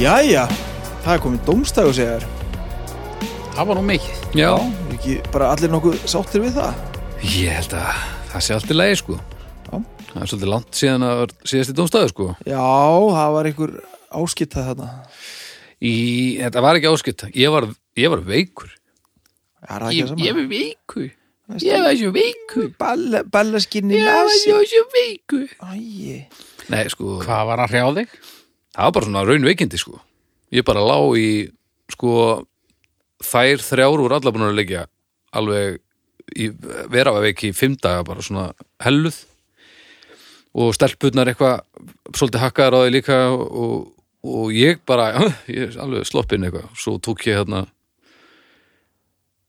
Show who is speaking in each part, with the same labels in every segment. Speaker 1: Jæja, það er komin dómstæðu segjar
Speaker 2: Það var nú mikið.
Speaker 3: Já,
Speaker 1: Er ekki bara allir nokkuð sáttir við það?
Speaker 3: ég held að það sé allt í lagi sko
Speaker 1: Já.
Speaker 3: Það er svolítið langt síðan að var síðast í dómstæðu sko
Speaker 1: Já, það var einhver áskitað þarna
Speaker 3: í, Þetta var ekki áskipt Ég var, ég var veikur
Speaker 1: Já, það er ekki að sama
Speaker 3: var veikur Ég var svo veikur
Speaker 1: Balla, ballaskinni nasi
Speaker 3: svo veikur
Speaker 1: Æi,
Speaker 3: Nei sko,
Speaker 2: Hvað var að hrjá þig?
Speaker 3: það var bara svona raunveikindi sko Ég bara lá í sko þær þrjár úr alla búin að leikja alveg í vera að veiki í fimm daga bara svona helluð og stelpurnar eitthvað svolítið hakkaðar á því líka og, og ég bara, ég er alveg sloppinn eitthvað svo tók ég hérna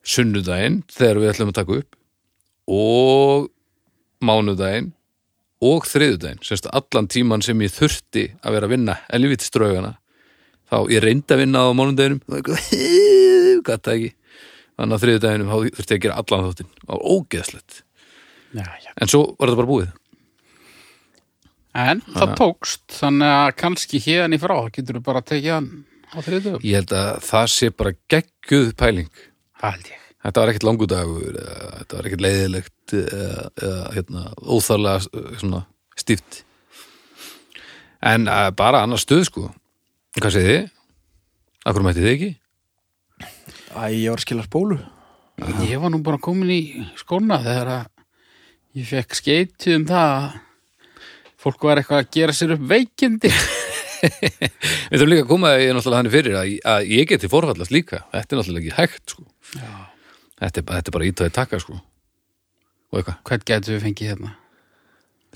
Speaker 3: sunnudaginn þegar við ætlum að taka upp og mánudaginn og þriðudaginn, semst allan tíman sem ég þurfti að vera að vinna elvitstraugana þá ég reyndi að vinna á mánudeginum og eitthvað gata ekki þannig að þriðudeginum þá þurfti ég að gera allan þáttinn það var ógeðslegt
Speaker 2: Já, já.
Speaker 3: en svo var þetta bara búið
Speaker 2: En það tókst, þannig að kannski hérni frá getur þú bara að tekið hann á þriðdöfum.
Speaker 3: ég held að það sé bara gegguð pæling
Speaker 2: Hald ég.
Speaker 3: þetta var ekkert langu dagur eða þetta var ekkert leiðilegt eða, eða hérna, óþarlega eh, svona, stíft en eh, bara annars stuð sko hvað segið þið? Akkur mætti þið ekki?
Speaker 1: Æi, ég var að skilast bólu
Speaker 2: Ég var nú bara komin í skóna þegar að ég fekk skeiti um það að fólk var eitthvað að gera sér upp veikindi.
Speaker 3: Við þurfum líka að koma að ég er náttúrulega þannig fyrir að, að ég geti forfallast líka. Þetta er náttúrulega ekki hægt, sko. Þetta er, bara- þetta er bara ítaði taka, sko. Og eitthvað,
Speaker 2: Hvern getur við fengið hérna?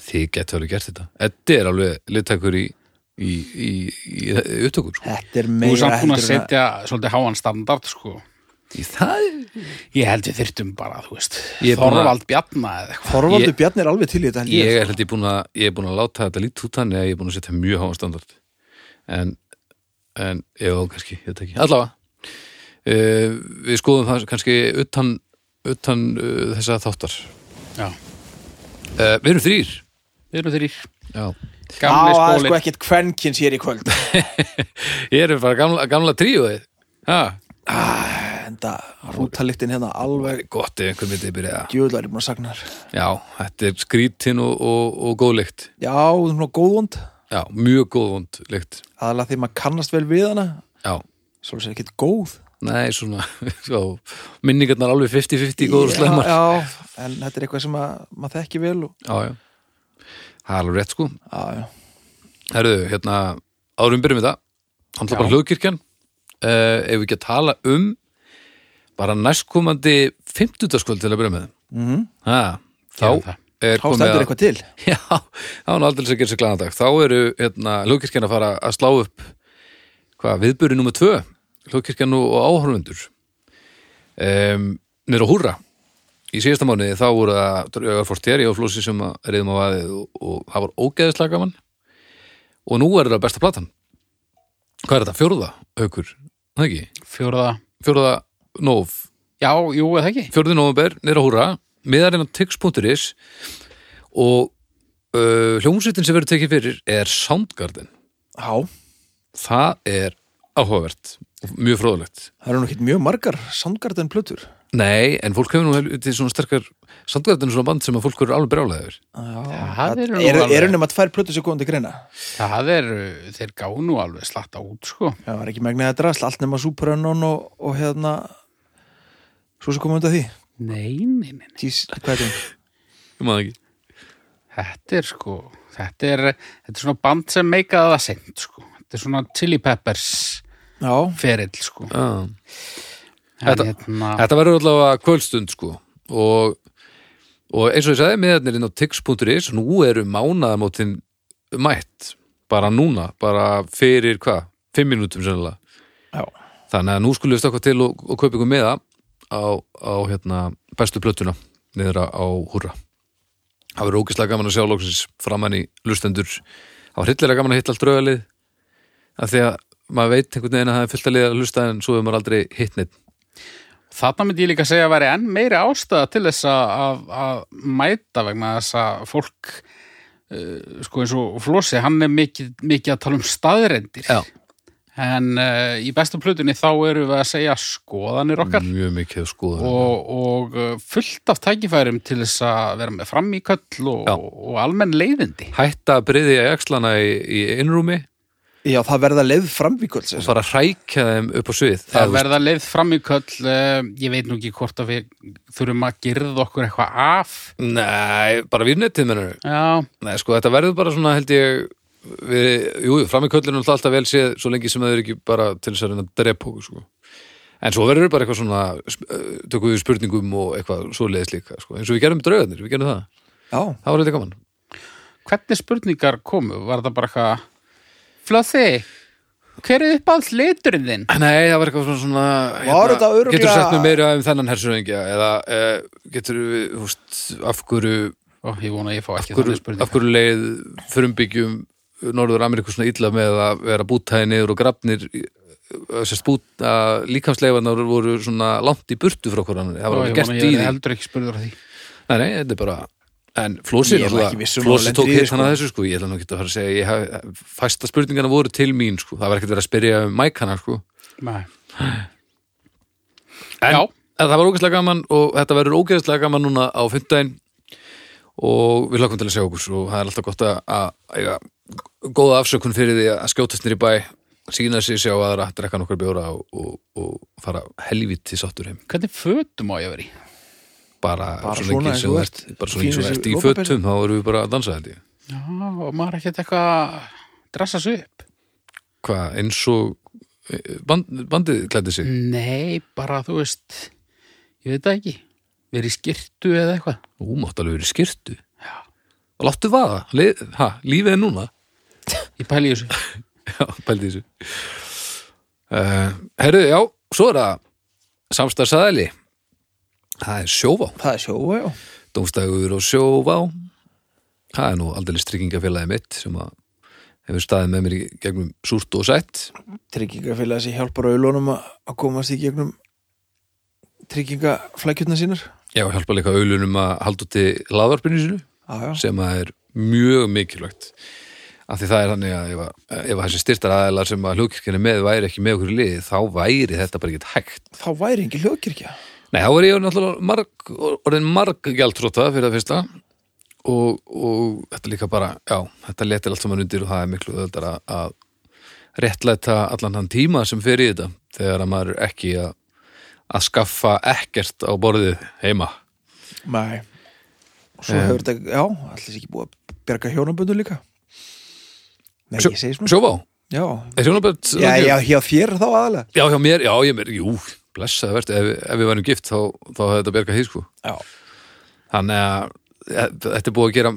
Speaker 3: þið getur alveg gert þetta. Þetta er alveg littakur í, í, í, í, í upptökur, sko.
Speaker 1: Þetta er
Speaker 2: Þú er
Speaker 1: meira
Speaker 2: samt búin að
Speaker 1: heldur en að-
Speaker 2: setja svolítið háan standard, sko.
Speaker 3: Í það?
Speaker 2: Ég held við þyrtum bara, þú veist,
Speaker 3: Ég er búin að-
Speaker 2: Þorvald Bjarna eða eitthvað.
Speaker 1: Þorvaldur
Speaker 3: Ég-
Speaker 1: Bjarni er alveg til í þetta held
Speaker 3: Ég sko. er held ég búin að, ég er búin að láta þetta lítið út þannig að ég er búin að setja mjög háan standard. En, en, já, kannski, ég veit ekki. Allavega, uh, við skoðum það kannski utan, utan uh, þessa þáttar.
Speaker 2: Já,
Speaker 3: Uh, við erum þrýr.
Speaker 2: við erum þrýr.
Speaker 3: Já.
Speaker 1: Á, það
Speaker 2: Gamli
Speaker 1: er sko
Speaker 2: skólinn.
Speaker 1: ekkert kvenkins hér í kvöld
Speaker 3: Ég er bara gamla, gamla tríóið Ha,
Speaker 1: En það rútaliktin hérna alveg
Speaker 3: gott ef einhver myndið byrja
Speaker 1: Djöðlega er ég búin að sagna þér
Speaker 3: Já, þetta er skrítin og, og, og góð lykt
Speaker 1: Já, þú er svona góðvond
Speaker 3: Já, mjög góð vond lykt
Speaker 1: Aðalega þegar maður kannast vel við hana
Speaker 3: Já,
Speaker 1: Svo er ekkert góð
Speaker 3: nei, svona já, minningarnar alveg 50-50 góður og slemmar já.
Speaker 1: Já, já, en þetta er eitthvað sem að, maður þekki vel og,
Speaker 3: já, Það er alveg rétt sko
Speaker 1: já, já.
Speaker 3: Herðu, hérna, árum byrjum við það Hann
Speaker 2: Já.
Speaker 3: bara hlugkirkjan uh, Ef við ekki að tala um bara næstkomandi 50 til að byrja með
Speaker 1: Mm
Speaker 3: ha, Þá
Speaker 2: Gerum það.
Speaker 3: er
Speaker 1: Þá
Speaker 3: komið
Speaker 1: stendur
Speaker 3: að
Speaker 1: eitthvað til
Speaker 3: Já, þá er nú aldrei að gera sér glæðan dag. Þá eru hérna, hlugkirkjan að fara að slá upp hvað, viðbyrju nummer tvö, hlugkirkjan og áhorfundur. Um, Nýr á húrra. Í síðasta mánuði þá voru það draugar fortér í áflósi sem að reyðum á aðið og, og það var ógeðislega gaman. Og nú er það besta platan. Hvað er þetta? Fjórða haukur? Það ekki?
Speaker 2: Fjóraða.
Speaker 3: Fjórða nóf
Speaker 2: Já, jú, eða ekki?
Speaker 3: 4. november, nýra húra miðarinn á tix.is og uh, hljómsveitin sem verður tekið fyrir er Soundgarden
Speaker 1: Já,
Speaker 3: það er áhugavert og mjög fróðlegt
Speaker 1: það eru nú ekkert mjög margar Soundgarden plötur
Speaker 3: nei, en fólk hefur nú helviti svona sterkar Soundgarden er svona band sem að fólk eru alveg brjálæður
Speaker 2: Það eru nú
Speaker 1: Eru
Speaker 2: alveg-
Speaker 1: er nema tvær plötur sem komum til greina
Speaker 2: Það er, uh, þeir gá nú alveg slatta út, sko.
Speaker 1: Já, það er ekki megnið að drasl, allt nema Superannon og, og hérna Svo sem komum undan því
Speaker 2: Nei, nei, nei, nei.
Speaker 1: Tís, hvað er það?
Speaker 3: ég maður ekki
Speaker 2: Þetta er sko, þetta er, uh, þetta er svona band sem meikaði það sent, sko. Þetta er svona Chili Peppers
Speaker 1: Já,
Speaker 2: ferill, sko.
Speaker 3: ah.
Speaker 2: En
Speaker 3: Þetta-
Speaker 2: hérna,
Speaker 3: Þetta verður allavega kvöldstund sko og, og eins og ég sagði miðarnir inn á tix.is nú eru mánaðamótin mætt bara núna, bara fyrir hvað, fimm minútum sennilega
Speaker 1: Já.
Speaker 3: Þannig að nú skulum við stakka til og, og kaupa ykkur meða á, á hérna, bestu plötuna niður á húrra Það verður ógislega gaman að sjá lóksins framann í lustendur Það var hryllilega gaman að hitta allt draugalið af því að maður veit einhvern veginn að það er fullt að liða að lusta en svo hefur maður aldrei hitt neitt
Speaker 2: þarna myndi ég líka segja að væri enn meiri ástæða til þess að, að, að mæta vegna þess að fólk, uh, sko eins og Flósi, hann er mikið, mikið að tala um staðrendir.
Speaker 3: Já.
Speaker 2: en uh, í bestu plötunni þá erum við að segja skoðanir okkar
Speaker 3: mjög mikið skoðan
Speaker 2: og, og uh, fullt af tækifærum til þess að vera með fram í köll og,
Speaker 3: Já.
Speaker 2: og almenn leiðindi
Speaker 3: hætta að bryðja í axlana í, í innrúmi
Speaker 1: Já, það verða leið framvíkvöld
Speaker 3: og fara að hrækja þeim upp á svið
Speaker 2: Það
Speaker 3: þú veist,
Speaker 2: verða leið fram í köll, uh, ég veit nú ekki hvort að við þurfum að gerða okkur eitthvað af.
Speaker 3: Nei, bara vírnetið mennur
Speaker 2: Já,
Speaker 3: Nei, sko, þetta verður bara svona held ég við, Jú, jú, fram í köllinu er alltaf vel séð svo lengi sem það er ekki bara til þess að reyna að drepa okkur, sko En svo verður bara eitthvað svona sp- eh, tökum við spurningum og eitthvað svo leiðis líka, sko eins og við gerum draugarnir, við gerum það
Speaker 1: Já,
Speaker 3: Það var eitthvað gaman
Speaker 2: hvernig spurningar komu? Var það bara eitthvað, Flöði, hver er upp alls liturinn þinn?
Speaker 3: Nei, það var eitthvað svona, svona hérna,
Speaker 1: Var þetta örugglega-
Speaker 3: Getur sagt mér meira um þennan hersuröngja eða uh, getur við, húst, af hverju
Speaker 2: Ó, ég vona að ég fá ekki
Speaker 3: hverju,
Speaker 2: þannig spurningar.
Speaker 3: af hverju leið frumbyggjum Norður Ameríku svona illa með að vera bútaði niður og grafnir eh, sérst búta líkamsleifarnar voru svona langt í burtu frá hvort hann það var
Speaker 2: Ó,
Speaker 3: alveg
Speaker 2: ég vona
Speaker 3: gert
Speaker 2: að
Speaker 3: í
Speaker 2: ég
Speaker 3: því
Speaker 2: er
Speaker 3: nei,
Speaker 2: heldur ekki spurningar því.
Speaker 3: nei, þetta er bara en Flósi,
Speaker 1: Ég er nú
Speaker 3: náttúrulega-
Speaker 1: ekki viss um að
Speaker 3: Flósi
Speaker 1: hún
Speaker 3: tók
Speaker 1: lendi í því,
Speaker 3: hitt hann að þessu sko ég ætla nú ekki að fara að segja ég hef, fæsta spurningarna voru til mín sko það var ekkert verið að spyrja um mækana sko
Speaker 2: Nei.
Speaker 3: En-
Speaker 2: Já,
Speaker 3: en það var ógeðslega gaman og þetta verður ógeðslega gaman núna á fymtdæin og við lakum til að segja okkur og það er alltaf gott að, að eiga góða afsökun fyrir því að skjótast nýr í bæ sína sig sjá aðra, drekka nokkur bjóra og, og, og fara helviti sáttur heim
Speaker 2: hvernig fötum má ég verið?
Speaker 3: bara,
Speaker 1: Bara
Speaker 3: svo lengi
Speaker 1: svona eins
Speaker 3: sem þú
Speaker 1: og þú
Speaker 3: ert
Speaker 1: ert.
Speaker 3: bara svo lengi sem
Speaker 1: Fínu
Speaker 3: þú ert í
Speaker 1: lopapeysu.
Speaker 3: fötum þá erum við bara að dansa þetta
Speaker 2: Já, og maður ekkert eitthvað að drassa sig upp.
Speaker 3: hvað, eins og eh, band, bandið klæddi
Speaker 1: Mm.
Speaker 3: sig
Speaker 2: Nei, bara þú veist, ég veit það ekki. Verið í skyrtu eða eitthvað.
Speaker 3: og hún mátt alveg verið skyrtu og láttu vaða, Le, ha, lífið er núna
Speaker 2: Ég pæli í þessu.
Speaker 3: Já, pældi þessu uh, Herru, já, svo er það samstarfsaðali Það er sjóvá,
Speaker 1: það er sjó, já
Speaker 3: dómstægur og sjóvá Það er nú aldrei tryggingafélagi mitt sem að hefur staðið með mér í gegnum súrt og sætt
Speaker 1: Tryggingafélagi sem hjálpar auðlunum að komast í gegnum tryggingaflækjutna sínur
Speaker 3: Já, hjálpa líka auðlunum að halda út í laðvarpinu sinu
Speaker 1: Já, já,
Speaker 3: sem að er mjög mikilvægt af því það er þannig að ef, að ef að þessi styrtar aðeilar sem að hlugkirkjan er með væri ekki með okkur í liði, þá væri þetta bara ekki hægt
Speaker 1: þá væri engin hljóðkirkja
Speaker 3: Nei, þá var ég náttúrulega marg, orðin marg gjaldtróta fyrir það fyrsta og, og þetta líka bara, já, þetta letir allt saman undir og það er miklu öðvöldar að, að réttlæta allan hann tíma sem fer í þetta þegar að maður er ekki að, að skaffa ekkert á borðið heima.
Speaker 1: Nei Svo hefur þetta, já, allir ekki búið að berga hjónaböndu líka Nei,
Speaker 3: Sjó-
Speaker 1: ég segi svona
Speaker 3: Sjóvá,
Speaker 1: Já,
Speaker 3: er hjónabönd?
Speaker 1: já, já, já, þér þá aðalega
Speaker 3: já, hjá mér, já, ég mér, jú, blessaði verðt, ef, ef við værum gift þá, þá hefði þetta bjargað því, sko.
Speaker 1: Já,
Speaker 3: þannig að e, þetta er búið að gera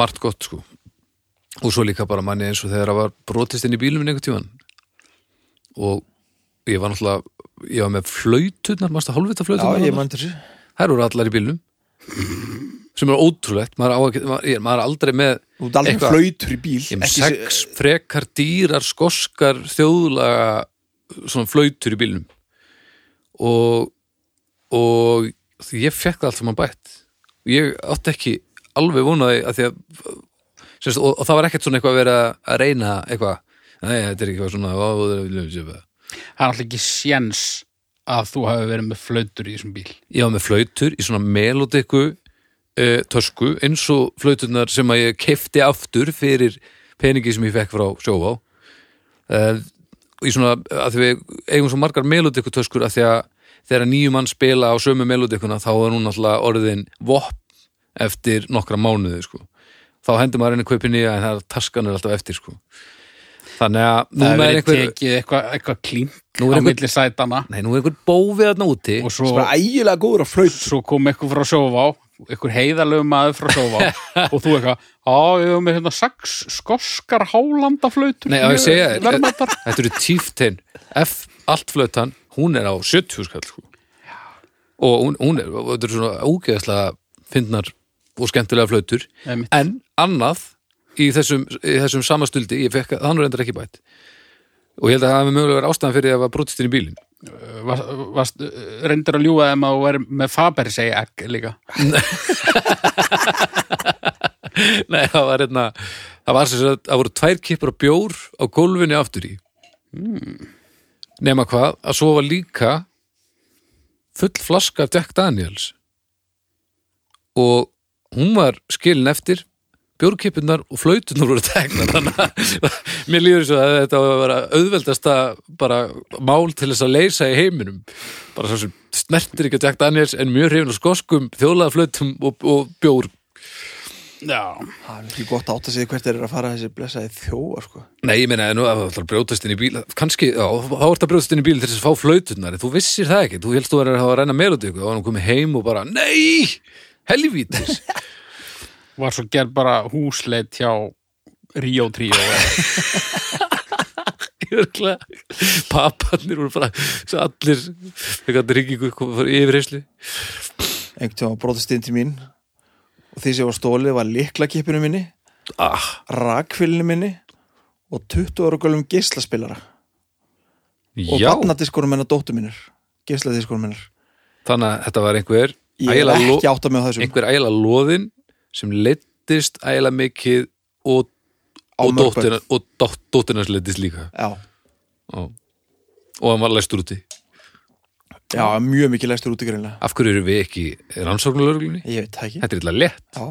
Speaker 3: margt gott sko og svo líka bara manni eins og þegar það var brotist inn í bílum minn einhvern tímann og ég var náttúrulega ég var með flautunar, mástu hálfvita
Speaker 1: já
Speaker 3: flautunar
Speaker 1: ég mann til þessu
Speaker 3: þær voru allar í bílum sem er ótrúlegt, maður, á ekki, maður, ég- maður er aldrei með
Speaker 1: Þú ert aldrei
Speaker 3: Eitthvað.
Speaker 1: flautur í bíl
Speaker 3: ég er með
Speaker 1: ekki se-
Speaker 3: sex frekar dýrar skoskar þjóðlaga svona flautur í bílnum og og því ég fekk það allt saman bætt ég átti ekki alveg vonaði að því að semst, og, og það var ekkert svona eitthvað að vera að reyna eitthvað, nei þetta er ekki eitthvað svona ó, það er-
Speaker 2: Það er alltaf ekki séns að þú hafi verið með flautur í þessum bíl.
Speaker 3: ég var með flautur í svona melodiku uh, tösku eins og flauturnar sem að ég kefti aftur fyrir peningi sem ég fekk frá sjóvá uh, í svona að því við eigum svo margar melodiku töskur að því að þegar nýju mann spila á sömu melodikuna þá er hún alltaf orðin vopp eftir nokkra mánuði sko. þá hendur maður henni kaupin í en það er taskan er alltaf eftir sko. þannig að nú
Speaker 2: Það
Speaker 3: er
Speaker 2: hefur verið
Speaker 3: einhver,
Speaker 2: tekið eitthvað, eitthvað klink
Speaker 3: Nú er
Speaker 2: á
Speaker 3: einhver-
Speaker 2: milli sætana
Speaker 3: nei, nú er einhver bófið þarna úti
Speaker 2: og
Speaker 1: sem
Speaker 2: svo,
Speaker 1: er ægilega góður að flautu
Speaker 2: svo kom eitthvað frá sjófá, eitthvað heiðalögum maður frá sjófá og þú eitthvað, á, ég hef með hérna sex skoskar hálanda flautur.
Speaker 3: Nei, á ég að segja þér,
Speaker 2: Verðmættar.
Speaker 3: þetta eru tíftin F, allt flötan, hún er á 70 skall sko. og hún, hún er og þetta eru svona ógeðslega fyndnar og skemmtilega flötur
Speaker 2: Einmitt.
Speaker 3: en annað í þessum, í þessum samastuldi, ég fekk að hann er endur ekki bætt og ég held að það hafi mögulega verið ástæðan fyrir að það var brotist inn í bílinn
Speaker 2: Var, varst, reyndir að ljúga þeim að þú verið með Faber segja egg líka.
Speaker 3: hérna, Nei, það var einna það var sem sagt, það voru tvær kippur af bjór á gólfinu aftur í nema hvað, að svo var líka full flaska af Jack Daniels og hún var skilin eftir bjórkipunar og flautunar voru tegna þannig að mér líður svo að þetta var að vera auðveldasta bara mál til þess að leysa í heiminum bara svo sem snertir ekki að Jack Daniels en mjög hrifin á skoskum, þjóðlega flautum og, og bjór
Speaker 2: Já,
Speaker 1: Það er ekki gott að átta sig hvert þeir eru að fara þessi blessaði þjóa sko.
Speaker 3: Nei, ég meina, nú, ef þú ætlar að brjótast inn í bíl kannski, já, þá ert að brjótast inn í bíl til þess að fá flautunar, þú vissir það ekki þú helst þú verður að hafa að reyna melodi ykkur, þá var hann komið heim og bara, nei, helvítis
Speaker 2: var svo gerð bara húsleit hjá Ríó Tríó eða-
Speaker 3: Jörgla, papparnir voru bara, svo allir eitthvað dryggingu yfir heyslu
Speaker 1: einhvern tíma brotast inn til mín og því sem var stólið var liklakippinu minni
Speaker 3: ah,
Speaker 1: rakfylinu minni og 20 ára gölum geislaspilara og
Speaker 3: Já,
Speaker 1: barnadiskunum hennar dóttu mínir geisladiskunum hennar
Speaker 3: þannig að þetta var einhver
Speaker 1: ég er
Speaker 3: ægilega lo-
Speaker 1: ekki átta með þessum
Speaker 3: einhver ægilega loðin sem leittist ægilega mikið og, og
Speaker 1: mörg börn.
Speaker 3: dóttina og dótt- dóttin hans leittist líka
Speaker 1: já,
Speaker 3: Ó. og hann var læstur úti
Speaker 1: já, mjög mikið læstur út í greinlega
Speaker 3: af hverju eru við ekki rannsóknulörglunni?
Speaker 1: ég veit það ekki,
Speaker 3: Þetta er illa lett.
Speaker 1: já,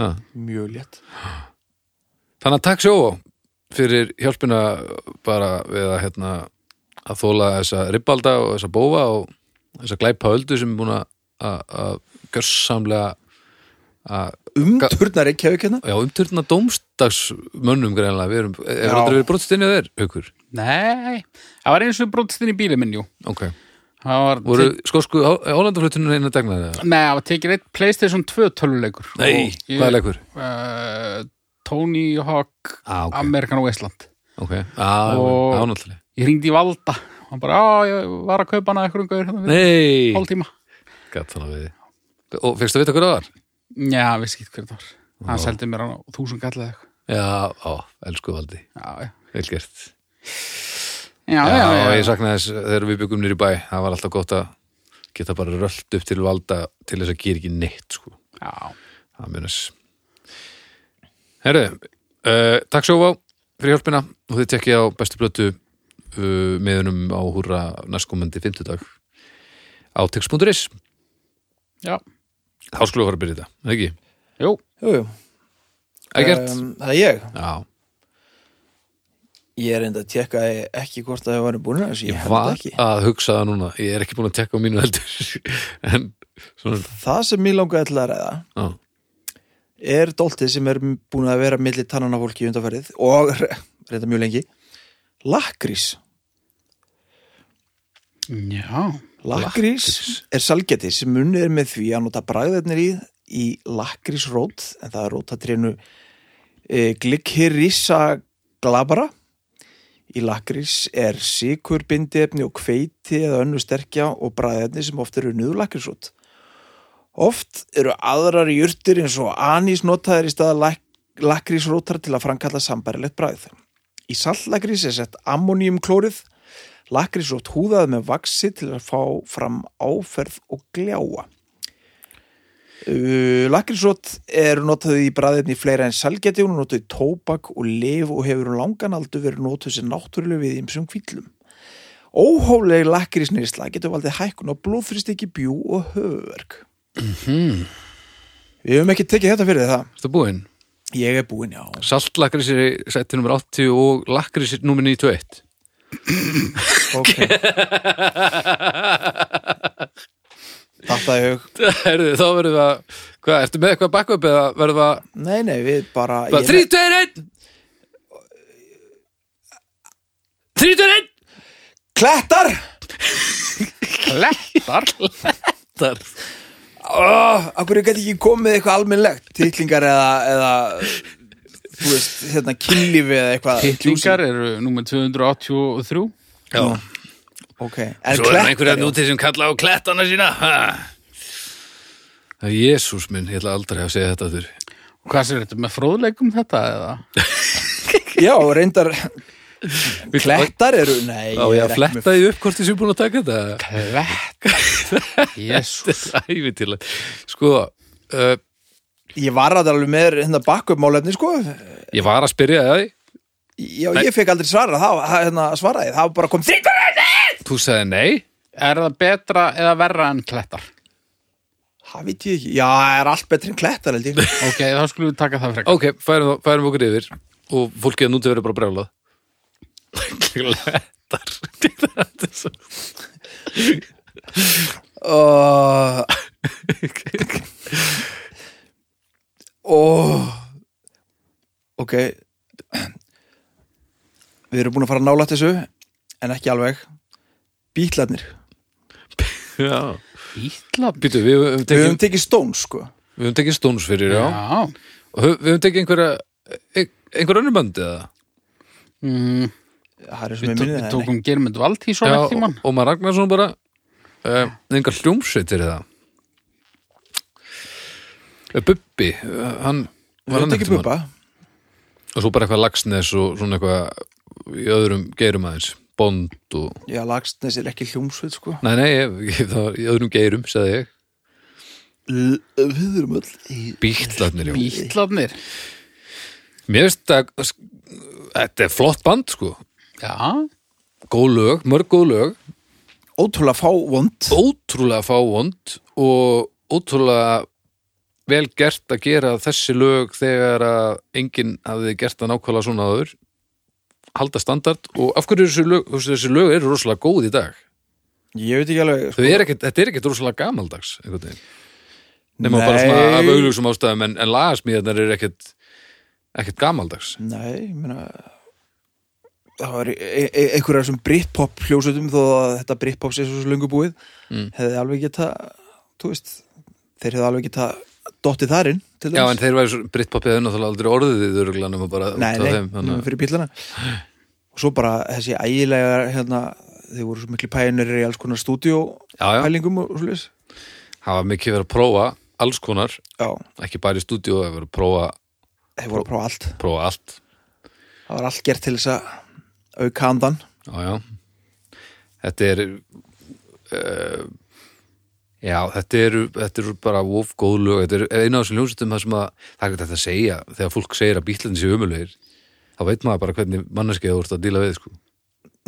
Speaker 3: Ha.
Speaker 1: mjög létt
Speaker 3: Þannig að takk sjóa fyrir hjálpina bara við að, hérna, að þóla þessa ribbalda og þessa bófa og þessa glæpa öldu sem er búin að- að að gjörsamlega að
Speaker 1: umturnar hérna? ekki hefur kenna
Speaker 3: já, umturna dómstagsmönnum greinlega, við erum,
Speaker 1: Já.
Speaker 3: er aldrei verið brotstinni þér, haukur?
Speaker 2: Nei, það var eins og brotist inn í bílið minn, jú
Speaker 3: Ok,
Speaker 2: Það var
Speaker 3: voru skosku álandaflutunum einu degnaði það?
Speaker 2: Nei, það var tekið eitt Playstation 2 töluleikur
Speaker 3: Nei,
Speaker 2: Og
Speaker 3: hvað er leikur?
Speaker 2: uh, Tony Hawk
Speaker 3: Ah, ok.
Speaker 2: Amerikan og Ísland
Speaker 3: Ok, á,
Speaker 2: Og-
Speaker 3: á náttúrulega
Speaker 2: Ég ringdi í Valda Hann bara, já, ég var að kaupa hana eitthvað hérna fyrir
Speaker 3: Nei,
Speaker 2: hálftíma
Speaker 3: gætt þannig við þig. Og fyrst að vita hver það var?
Speaker 2: Já, við skýtt hvernig það var Hann seldi mér hann á þúsund gallið eitthvað
Speaker 3: Já, á, elsku valdi,
Speaker 2: Já, já,
Speaker 3: vel gert
Speaker 2: já,
Speaker 3: Já,
Speaker 2: já, já,
Speaker 3: ég saknaði þess þegar við byggum nýri bæ það var alltaf gott að geta bara rölt upp til valda til þess að gera ekki neitt sko.
Speaker 2: já.
Speaker 3: það munis Herru, uh, takk sjófá fyrir hjálpina og þið tekkið á bestu blötu uh, meðunum á húra næstkomandi fimmtudag á tix.is
Speaker 2: já.
Speaker 3: þá skulum við fara að byrja þetta, er ekki?
Speaker 2: Jú,
Speaker 1: jú, jú.
Speaker 3: Ekkert?
Speaker 1: Um, það er ég
Speaker 3: Já,
Speaker 1: ég er enda að tekka ekki hvort að það varum búin að þessu, ég
Speaker 3: ég
Speaker 1: held
Speaker 3: var
Speaker 1: ekki
Speaker 3: að hugsa það núna ég er ekki búin að tekka á mínu heldur en svona,
Speaker 1: það sem mér langaði til að ræða
Speaker 3: já,
Speaker 1: er dóltið sem er búin að vera milli tannana fólki undanfærið og reynda mjög lengi lakrís
Speaker 2: já
Speaker 1: Lakrís er salgeti sem munið er með því að nota bragðarnir í í lakrísrót en það er rótatrénu e, glikirissa glabara í lakrís er sikur bindiefni og hveiti eða önnu sterkja og bragðarnir sem oft eru nöðu lakrísrót oft eru aðrar jurtir eins og anís notaðir í staða lak, lakrísrótar til að framkalla sambarilegt bragð í saltlakrís er sett ammoniumklórið Lakrísótt húðað með vaksi til að fá fram áferð og gljáa. Uh, Lakrísótt er notað í bræðinni fleira en salgeti, hún er notað í tóbak og lif og hefur um langan aldur verið notað sem náttúrulega við ymsum kvítlum. Óhófleg lakrísnýrsla getur valdið hækkun á blóðfrýstekki bjú og höfverk. Við höfum ekki tekið þetta fyrir það.
Speaker 3: ertu búinn?
Speaker 1: Ég er búinn, já.
Speaker 3: Saltlakrísir í sætti nummer 80 og lakrísir nummer 91
Speaker 1: Ok. Þetta er hug.
Speaker 3: Herðu, þá verðum við að hvað, ertu með eitthvað backup eða verðum við að
Speaker 1: Nei, nei, við bara...
Speaker 3: bara,
Speaker 1: ég-
Speaker 3: 3, 2, 1 3, 2,
Speaker 1: Klettar!
Speaker 2: Klettar
Speaker 3: 1
Speaker 1: Oh, akkur ég gæti ekki komið með eitthvað almennlegt Tittlingar eða, eða Þú veist, hérna, kynlífi eða eitthvað
Speaker 2: Kittlingar eru númer 283
Speaker 3: Já,
Speaker 1: Ok, en
Speaker 3: svo erum
Speaker 1: klettar
Speaker 3: einhverja
Speaker 1: já.
Speaker 3: núti sem kalla á klettana sína Jésús minn, ég ætla aldrei að segja þetta þurr
Speaker 2: Hvað sér þetta með fróðleikum þetta eða?
Speaker 1: Já, reyndar Klettar eru, nei
Speaker 3: Á ég að fletta því upp hvort þið sem búin að taka þetta
Speaker 2: Klettar Jésús
Speaker 3: Þetta er æfintilega Sko, uh,
Speaker 1: Ég var að alveg með hérna bakkup málefni, sko
Speaker 3: ég var að spyrja það
Speaker 1: Já, ég fekk aldrei svara það, það hérna, svaraði, það bara kom þrýttarinn
Speaker 3: Þú sagði nei
Speaker 2: Er það betra eða verra en klettar?
Speaker 1: Það veit ég ekki, já, það er allt betri en klettar held ég
Speaker 2: Ok, þá skulum við taka það frekar
Speaker 3: Ok, færum, þá- færum okkur yfir og fólkið að núti verið bara brjálað Lettar Þetta er svo
Speaker 1: uh, oh, Ok Við erum búin að fara nálætt þessu en ekki alveg Bítlarnir,
Speaker 3: Já.
Speaker 2: Ítla
Speaker 3: Býtu, við höfum
Speaker 1: við höfum
Speaker 3: tekið,
Speaker 1: tekið Stones sko
Speaker 3: við höfum tekið stóns fyrir já.
Speaker 2: Já
Speaker 3: og höf- við höfum tekið einhverja ein- einhver önnur bönd eða
Speaker 2: mm,
Speaker 1: Það er sem
Speaker 2: Við
Speaker 1: ég
Speaker 2: tó-
Speaker 1: minnið
Speaker 2: við
Speaker 1: það
Speaker 2: tókum Germund Valdísson
Speaker 3: Já,
Speaker 2: ekki
Speaker 3: og,
Speaker 2: tímann
Speaker 3: og maður Ragnarsson bara uh, einhver hljómsveit fyrir það Eh, Bubbi eh, hann
Speaker 1: Við
Speaker 3: var
Speaker 1: höfum
Speaker 3: hann
Speaker 1: tekið
Speaker 3: einhvern tímann.
Speaker 1: Bubba
Speaker 3: og svo bara eitthvað lagsnes og svona eitthvað í öðrum geirum aðeins Bond og
Speaker 1: Já, Lagsnes er ekki hljómsveit sko
Speaker 3: Nei, nei, ég, ég, það var í öðrum geirum, sagði ég.
Speaker 1: L- Við erum öll í
Speaker 3: Bítlarnir, já.
Speaker 2: Ítlaðnir
Speaker 3: Mér finnst að þetta er flott band, sko.
Speaker 2: Já,
Speaker 3: Góð lög, mörg góð lög,
Speaker 1: ótrúlega fá vond
Speaker 3: ótrúlega fávond og ótrúlega vel gert að gera þessi lög þegar að enginn hafði gert það nákvæmlega svona aður halda standard og af hverju eru þessi lög, þessi lög eru rosalega góð í dag
Speaker 1: Ég veit ekki alveg
Speaker 3: þau er ekkert, þetta er ekkert rosalega gamaldags einhvern veginn nema bara svona af augljósum ástæðum en, en lagasmíðarnar eru ekkert ekkert gamaldags
Speaker 1: Nei, ég meina það var e- e- einhverjar sem Britpop hljósutum þó að þetta Britpop sé svo lungu búið
Speaker 3: Mm.
Speaker 1: hefði alveg geta þú veist, þeir hefði alveg geta dottið þar inn til
Speaker 3: Já, en þeir væri svo Britpopið hefur náttúrulega aldrei orðið í þurruglan nema bara út
Speaker 1: Nei,
Speaker 3: af
Speaker 1: nei,
Speaker 3: þeim
Speaker 1: nema fyrir bílana og svo bara þessi ægilega hérna, þeir voru svo miklu pæinir í alls konar stúdíó
Speaker 3: Já, já,
Speaker 1: pælingum og svo leis
Speaker 3: það var mikið verið að prófa alls konar,
Speaker 1: Já,
Speaker 3: ekki bara í stúdíu það verið að prófa,
Speaker 1: þeir voru að prófa allt
Speaker 3: prófa allt
Speaker 1: það var allt gert til þess að auka andan
Speaker 3: Já, já Þetta er uh, Já, þetta eru þetta eru bara of góð lög þetta er eina af þessum hljómsveitum það sem að það er ekki þetta að segja, þegar fólk segir að bílarnir séu umulugir þá veit maður bara hvernig manneskið þú ert að díla við, sko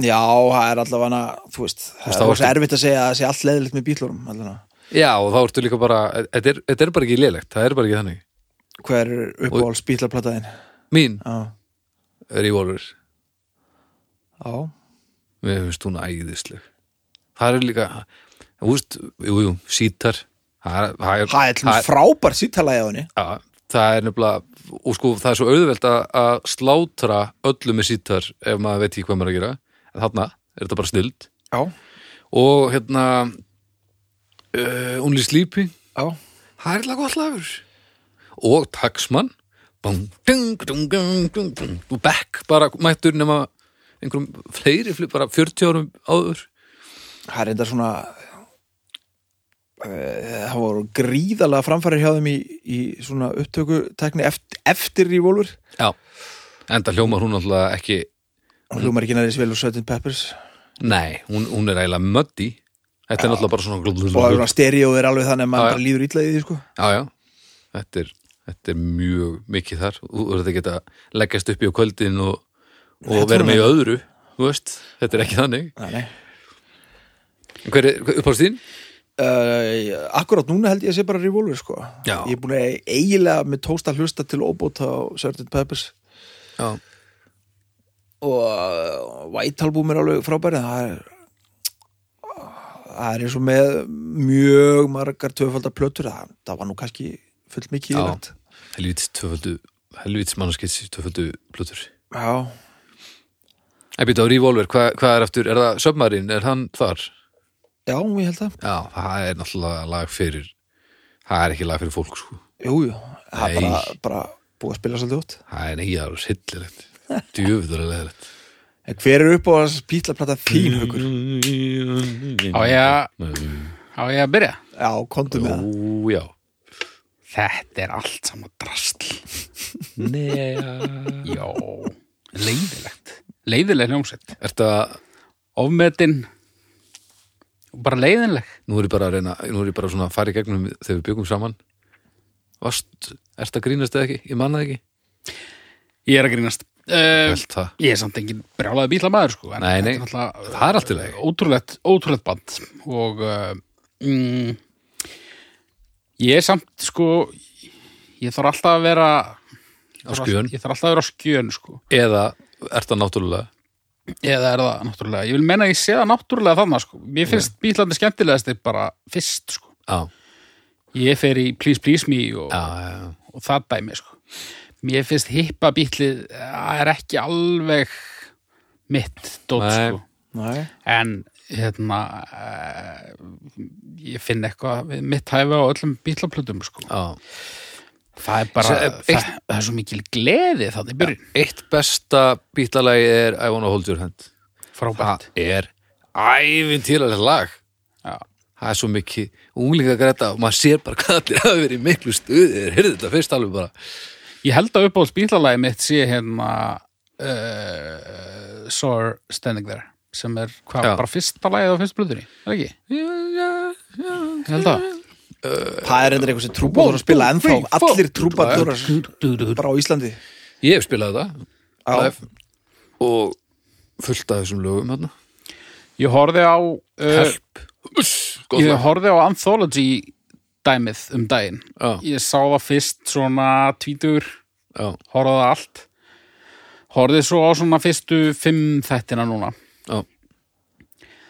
Speaker 1: Já, það er allavega, þú veist
Speaker 3: veist,
Speaker 1: það
Speaker 3: þá
Speaker 1: er svo
Speaker 3: ertu-
Speaker 1: erfitt að segja að það sé allt leðilegt með bílunum allavega
Speaker 3: Já, og þá ertu líka bara, þetta er, þetta er bara ekki lélegt það er bara ekki þannig.
Speaker 1: hver er uppáhalds bílaplataðin
Speaker 3: Mín
Speaker 1: já,
Speaker 3: er í volver
Speaker 1: já,
Speaker 3: Mér finnst hún æðisleg Það eru líka Þú veist, jú, jú, sítar Það er- það er-
Speaker 1: það
Speaker 3: það
Speaker 1: er til frábær sýttalæði á henni
Speaker 3: Já, það er nefnilega og sko það er svo auðvelt að, að slátra öllu með sítar ef maður veit ekki hvað maður er að gera en þarna er þetta bara snild
Speaker 1: já,
Speaker 3: og hérna uh, Only Sleeping
Speaker 1: já,
Speaker 3: það er eitthvað gott lagur og Taxman Bang, dung, dung, dung, dung, dung. og Beck bara mættur nema einhverjum fleiri, fleiri, bara 40 árum áður
Speaker 1: það er enda svona eh, það voru gríðalega framfærir hjá þeim í, í svona upptökutekni eftir, eftir Revolver
Speaker 3: Já, enda hljómar hún alltaf ekki
Speaker 1: og hljómar ekki næri svel og Sweatin' Peppers
Speaker 3: Nei, hún, hún er eiginlega möddi Þetta er náttúrulega bara
Speaker 1: og það er
Speaker 3: svona
Speaker 1: svona stereó er alveg þannig að
Speaker 3: Já,
Speaker 1: maður
Speaker 3: já.
Speaker 1: bara líður illa í því sko
Speaker 3: Já, já, þetta er, þetta er mjög mikið þar Þú verður þetta geta leggjast upp í á kvöldin og, og
Speaker 1: Þetta
Speaker 3: vera
Speaker 1: var
Speaker 3: með í öðru Þú veist, þetta er ekki þannig
Speaker 1: Nei, nei.
Speaker 3: En Hver er uppáðst þín?
Speaker 1: Uh, akkurát núna held ég að sé bara Revolver sko
Speaker 3: Já.
Speaker 1: ég er búin að eiginlega með tósta hlusta til óbóta á Sweatin' Peppers
Speaker 3: Já,
Speaker 1: og White Album er alveg frábæri það er það er eins og með mjög margar töfaldar plötur það, það var nú kannski fullt mikið
Speaker 3: Já.
Speaker 1: yfirleitt.
Speaker 3: helvítis tvöföldu helvítis mannskis tvöföldu plötur
Speaker 1: já,
Speaker 3: En býta á Revolver, hvað, hvað er aftur? Er það Submarine, er hann þar?
Speaker 1: já, ég held það
Speaker 3: Já, það er náttúrulega lag fyrir Það er ekki lag fyrir fólk, sko
Speaker 1: jú, jú, það er
Speaker 3: Nei.
Speaker 1: bara, bara búið að spila svolítið út
Speaker 3: Það er neyja og sillilegt Djöfudur er leðilegt
Speaker 1: en hver er upp á þess pítlaplata
Speaker 3: Mm.
Speaker 1: þín hugur?
Speaker 2: á ég, að- á ég að byrja
Speaker 1: já, komdu með það
Speaker 3: Ú, já
Speaker 2: Þetta er allt saman drastl
Speaker 3: Nea
Speaker 2: Jó, leiðilegt Leiðileg hljómsett
Speaker 3: Ertu að,
Speaker 2: Ofmetin og bara leiðinleg
Speaker 3: nú er ég bara að reyna Nú er ég bara svona að fara í gegnum þegar við byggum saman Vast, ertu að grínast eða ekki? Ég manna það ekki
Speaker 2: Ég er að grínast uh,
Speaker 3: Velt það.
Speaker 2: ég er samt engin brjálaði bíla maður sko, en
Speaker 3: Nei,
Speaker 2: þetta
Speaker 3: nei,
Speaker 2: er náttúrulega, uh,
Speaker 3: það er allt í lagi.
Speaker 2: Ótrúlegt, ótrúlegt band og uh, mm, ég er samt sko ég þarf alltaf að vera
Speaker 3: Á skjön.
Speaker 2: ég þarf alltaf að vera á skjön sko
Speaker 3: Eða ert það náttúrulega
Speaker 2: eða er það náttúrulega, ég vil menna að ég sé það náttúrulega þannig sko, mér finnst yeah. bílandi skemmtilegast er bara fyrst sko,
Speaker 3: Já,
Speaker 2: ég fer í Please Please Me og,
Speaker 3: já, já, já.
Speaker 2: og það dæmi sko mér finnst hippa bílið það er ekki alveg mitt dót
Speaker 3: Nei.
Speaker 2: sko
Speaker 1: Nei.
Speaker 2: en hérna uh, ég finn eitthvað við mitt hæfi á öllum bílaplutum sko.
Speaker 3: já.
Speaker 2: það er bara
Speaker 3: Sem-
Speaker 2: það, það er svo mikil gleði þannig í byrjun
Speaker 3: Eitt besta bílalagi er I Wanna Hold Your Hand
Speaker 2: frábært
Speaker 3: Það er ævintýralegt lag
Speaker 2: Já.
Speaker 3: Það er svo mikið unglinga græta og maður sér bara hvað allir hafa verið í miklu stuði þeir heyrðu þetta fyrst alveg bara
Speaker 2: ég held að uppáhalds bílalagi mitt sé hérna uh, Sore Standing There sem er hvað,
Speaker 3: Já.
Speaker 2: bara fyrsta lagið á fyrstu blutunni, er það ekki?
Speaker 3: Já, já, já
Speaker 2: Ég held að
Speaker 1: Það er endur eitthvað sem trúbadóra spila ennþá allir trúbadórar
Speaker 2: trúbadóra
Speaker 1: bara á Íslandi
Speaker 3: Ég hef spilað þetta
Speaker 1: Já.
Speaker 3: live og fullt af þessum lögum hérna
Speaker 2: ég horfði á uh,
Speaker 3: Help Eh, Uss, Góð
Speaker 2: ég
Speaker 3: lag
Speaker 2: horfði á Anthology dæmið um daginn
Speaker 3: Já,
Speaker 2: ég sá það fyrst svona tvítur
Speaker 3: já,
Speaker 2: horfði á allt horfði svo á svona fyrstu fimm þættina núna
Speaker 3: já